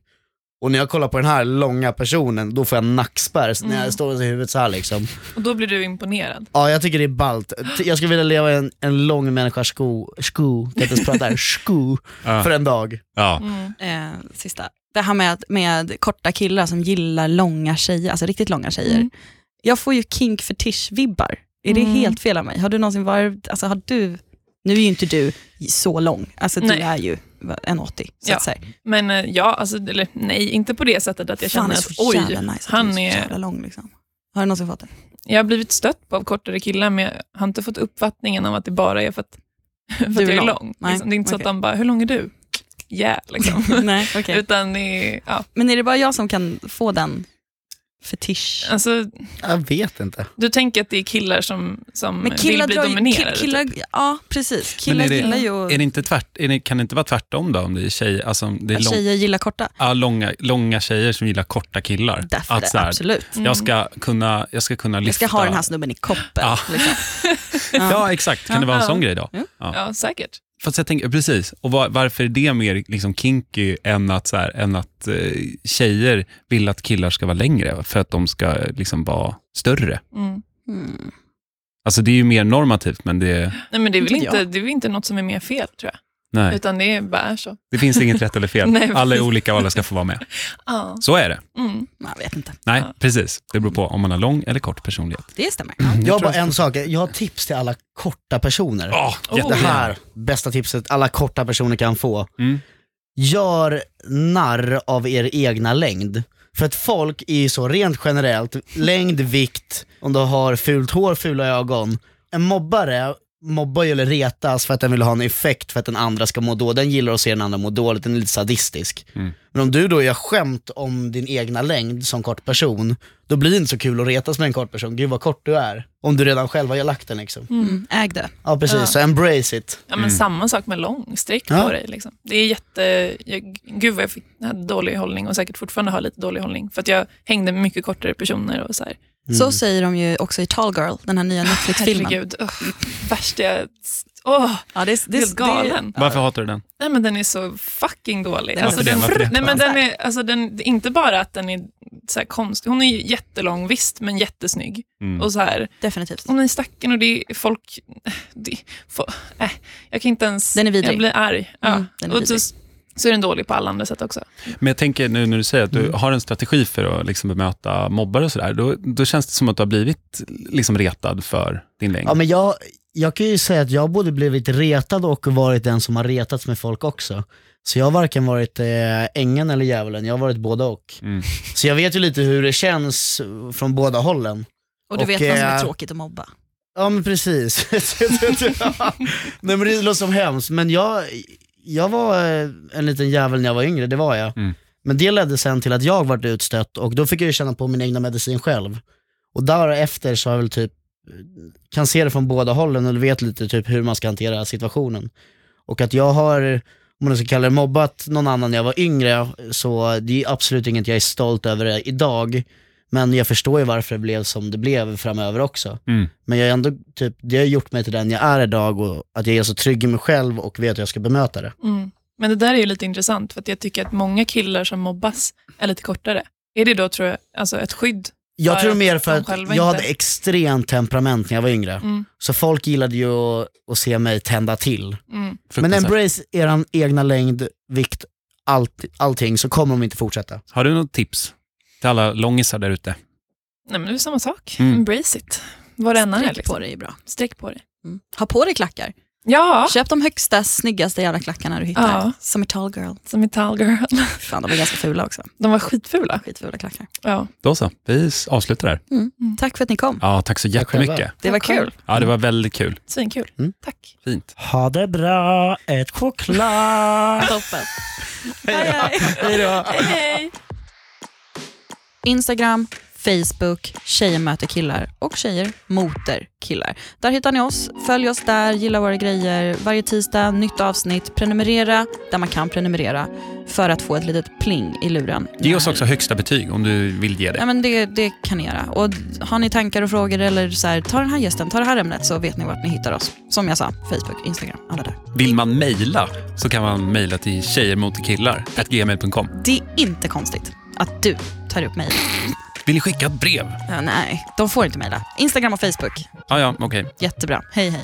Speaker 4: Och när jag kollar på den här långa personen, då får jag nackspärr så när
Speaker 3: Mm.
Speaker 4: jag står i huvudet så här liksom.
Speaker 3: Och då blir du imponerad.
Speaker 4: Ja jag tycker det är ballt. T- Jag skulle vilja leva i en, en lång människas sko, sko, kan inte ens prata här, sko,
Speaker 2: Ja.
Speaker 4: för en dag.
Speaker 2: Ja.
Speaker 3: Mm.
Speaker 1: Eh, sista. Det här med, att- med korta killar som gillar långa tjejer, alltså riktigt långa tjejer.
Speaker 3: Mm.
Speaker 1: Jag får ju kink fetish vibbar Är det
Speaker 3: Mm.
Speaker 1: helt fel av mig? Har du någonsin varit, alltså har du, nu är ju inte du så lång, alltså
Speaker 3: Nej.
Speaker 1: du är ju 1,80 så
Speaker 3: Ja.
Speaker 1: att säga.
Speaker 3: Men eh, ja, alltså, eller nej, inte på det sättet att jag
Speaker 1: Fan,
Speaker 3: känner
Speaker 1: det är
Speaker 3: att
Speaker 1: så jävla
Speaker 3: oj,
Speaker 1: nice att
Speaker 3: han
Speaker 1: du är så
Speaker 3: är...
Speaker 1: jävla lång liksom. Har du någonsin fått det?
Speaker 3: Jag har blivit stött på av kortare killar, men jag har inte fått uppfattningen av att det bara är för att, för att
Speaker 1: Du är
Speaker 3: jag är
Speaker 1: lång.
Speaker 3: lång.
Speaker 1: Nej,
Speaker 3: Liksom. Det är inte så att
Speaker 1: okej.
Speaker 3: de bara, hur lång är du? Yeah, liksom.
Speaker 1: Nej, okej.
Speaker 3: Utan det är, ja,
Speaker 1: Men är det bara jag som kan få den fetisch?
Speaker 3: alltså,
Speaker 4: Jag vet inte.
Speaker 3: du tänker att det är killar som, som
Speaker 1: Men killar
Speaker 3: vill
Speaker 1: drar
Speaker 3: bli
Speaker 1: ju,
Speaker 3: dominerade. typ.
Speaker 1: ki- killar, ja precis, killar
Speaker 2: är det-
Speaker 1: gillar ju
Speaker 2: Är det inte tvärt, är det, kan det inte vara tvärtom då? Om det är, tjej, alltså, om det är
Speaker 1: att
Speaker 2: lång,
Speaker 1: tjejer gillar korta.
Speaker 2: ja, långa, långa tjejer som gillar korta killar.
Speaker 1: Därför
Speaker 2: att, så här,
Speaker 1: absolut.
Speaker 3: Mm.
Speaker 2: jag, ska kunna, jag ska kunna
Speaker 1: Jag
Speaker 2: lyfta.
Speaker 1: ska ha den här snubben i koppen.
Speaker 2: Ja.
Speaker 1: Liksom.
Speaker 2: Ja, exakt. Kan det vara en
Speaker 3: Ja.
Speaker 2: sån grej då?
Speaker 3: Ja, säkert.
Speaker 2: Fast jag tänker, precis. Och var, varför är det mer liksom kinky än att, så här, än att eh, tjejer vill att killar ska vara längre för att de ska eh, liksom vara större?
Speaker 3: Mm.
Speaker 1: Mm.
Speaker 2: Alltså det är ju mer normativt, men det,
Speaker 3: Nej, men det är väl
Speaker 1: Inte jag.
Speaker 3: inte, det är väl inte något som är mer fel, tror jag.
Speaker 2: nej,
Speaker 3: Utan det är bara är så.
Speaker 2: det finns inget rätt eller
Speaker 3: Nej,
Speaker 2: fel. Alla är olika och alla ska få vara med.
Speaker 3: Ja.
Speaker 2: Så är det.
Speaker 3: Mm.
Speaker 1: Jag vet inte,
Speaker 2: Nej,
Speaker 3: Ja.
Speaker 2: precis. Det beror på om man har lång eller kort personlighet.
Speaker 1: det stämmer.
Speaker 4: Jag har bara en sak, jag har tips till alla korta personer.
Speaker 2: Oh,
Speaker 4: Det här, bästa tipset alla korta personer kan få.
Speaker 2: Mm.
Speaker 4: Gör narr av er egna längd. För att folk är ju så rent generellt, längd, vikt, om du har fult hår, fula ögon. En mobbare mobbar ju eller retas för att den vill ha en effekt för att den andra ska må dåligt. Den gillar att se den andra må dåligt, den är lite sadistisk.
Speaker 2: Mm.
Speaker 4: Men om du då gör skämt om din egna längd som kort person, då blir det inte så kul att retas med en kort person. Gud vad kort du är. Om du redan själv har lagt den liksom.
Speaker 1: Mm. Äg det.
Speaker 4: Ja precis,
Speaker 3: Ja.
Speaker 4: så embrace it.
Speaker 3: Ja,
Speaker 1: Mm.
Speaker 3: men Samma sak med lång, sträck
Speaker 4: Ja.
Speaker 3: på dig. Liksom. Det är jätte... Jag, gud vad jag fick jag hade dålig hållning och säkert fortfarande har lite dålig hållning. För att jag hängde med mycket kortare personer och så här.
Speaker 4: Mm.
Speaker 1: Så säger de ju också i Tall Girl, den här nya Netflix-filmen.
Speaker 3: Herregud, oh, värsta jag... Åh,
Speaker 1: Ja, det, det,
Speaker 3: helt galen.
Speaker 2: Varför hatar du den?
Speaker 3: Nej men den är så fucking dålig.
Speaker 1: Den är
Speaker 3: Alltså,
Speaker 1: så
Speaker 3: den,
Speaker 2: fruktansvärd.
Speaker 3: nej men den är, alltså den, det är inte bara att den är så här konstig, hon är ju jättelång visst, men jättesnygg.
Speaker 2: Mm.
Speaker 3: Och så här,
Speaker 1: Definitivt.
Speaker 3: hon är stacken och det är folk, det, fo, äh, jag kan inte ens,
Speaker 1: Den är vidrig.
Speaker 3: jag blir arg. Ja.
Speaker 1: Mm, den är
Speaker 3: och så,
Speaker 1: vidrig.
Speaker 3: så är den dålig på alla andra sätt också.
Speaker 2: Men jag tänker nu när du säger att du
Speaker 4: Mm.
Speaker 2: har en strategi för att liksom bemöta mobbare och sådär, då, då känns det som att du har blivit liksom retad för din längd.
Speaker 4: Ja, men jag, jag kan ju säga att jag både blivit retad och varit den som har retats med folk också. Så jag har varken varit eh, ängeln eller djävulen, jag har varit båda och.
Speaker 2: Mm.
Speaker 4: Så jag vet ju lite hur det känns eh, från båda hållen.
Speaker 1: Och du
Speaker 4: Och,
Speaker 1: vet vad som är
Speaker 4: eh,
Speaker 1: tråkigt att mobba.
Speaker 4: Ja men precis. Nej men det låter som hemskt, men jag, jag var eh, en liten djävul när jag var yngre, det var jag.
Speaker 2: Mm.
Speaker 4: Men det ledde sen till att jag vart utstött och då fick jag ju känna på min egna medicin själv. Och därefter så har jag väl typ, kan se det från båda hållen och vet lite typ hur man ska hantera situationen. Och att jag har, om man ska kalla det mobbat någon annan när jag var yngre, så det är absolut inget jag är stolt över idag. Men jag förstår ju varför det blev som det blev framöver också.
Speaker 2: Mm.
Speaker 4: Men jag är ändå, typ, det har gjort mig till den jag är idag och att jag är så trygg i mig själv och vet hur jag ska bemöta det.
Speaker 3: Mm. Men det där är ju lite intressant, för att jag tycker att många killar som mobbas är lite kortare. Är det då, tror jag, alltså ett skydd?
Speaker 4: Jag
Speaker 3: För
Speaker 4: tror
Speaker 3: att
Speaker 4: mer för
Speaker 3: de
Speaker 4: att jag
Speaker 3: själva
Speaker 4: hade
Speaker 3: inte-
Speaker 4: extremt temperament när jag var yngre.
Speaker 3: Mm.
Speaker 4: Så folk gillade ju att, att se mig tända till.
Speaker 3: Mm.
Speaker 4: Men
Speaker 2: Fruktansvärt.
Speaker 4: embrace er egna längd, vikt, allt, allting så kommer de inte fortsätta.
Speaker 2: Har du något tips till alla långisar där ute?
Speaker 3: Nej men det är samma sak.
Speaker 2: Mm.
Speaker 3: Embrace it. Vad det än är.
Speaker 1: Sträck
Speaker 3: Liksom.
Speaker 1: på dig är bra.
Speaker 3: Sträck på dig.
Speaker 1: Mm. Ha på dig klackar.
Speaker 3: Ja,
Speaker 1: Köp de högsta, snyggaste jävla klackarna du hittar.
Speaker 3: Ja.
Speaker 1: Som är tall girl.
Speaker 3: som i Tall Girl.
Speaker 1: Fan, de är ganska fula också.
Speaker 3: De var skitfula.
Speaker 1: Skitfula klackar.
Speaker 3: Ja.
Speaker 2: Då så, vi avslutar där.
Speaker 1: Tack för att ni kom.
Speaker 2: Ja, tack så jättemycket.
Speaker 1: Det var
Speaker 3: Tack själv.
Speaker 1: kul.
Speaker 2: Ja, det var väldigt kul.
Speaker 3: Svinkul.
Speaker 1: Tack.
Speaker 2: Fint.
Speaker 4: Ha det bra, ett choklad.
Speaker 1: Toppen. Hej, hej.
Speaker 3: Hej!
Speaker 1: Instagram, Facebook, Tjejer möter killar och Tjejer moter killar. Där hittar ni oss. Följ oss där, gilla våra grejer. Varje tisdag, nytt avsnitt. Prenumerera där man kan prenumerera för att få ett litet pling i luren.
Speaker 2: Ge oss också högsta betyg om du vill ge
Speaker 1: Ja,
Speaker 2: det.
Speaker 1: men det, det kan ni göra. Och har ni tankar och frågor eller så här, ta den här gästen, ta det här ämnet så vet ni vart ni hittar oss. Som jag sa, Facebook, Instagram, alla där.
Speaker 2: Vill man mejla så kan man mejla till tjejermotkillar.gmail.com.
Speaker 1: Det är inte konstigt att du tar upp mejlen.
Speaker 2: Vill ni skicka ett brev?
Speaker 1: Ja, nej, de får inte mejla. Instagram och Facebook,
Speaker 2: Ja, ja, okej.
Speaker 1: jättebra. Hej hej.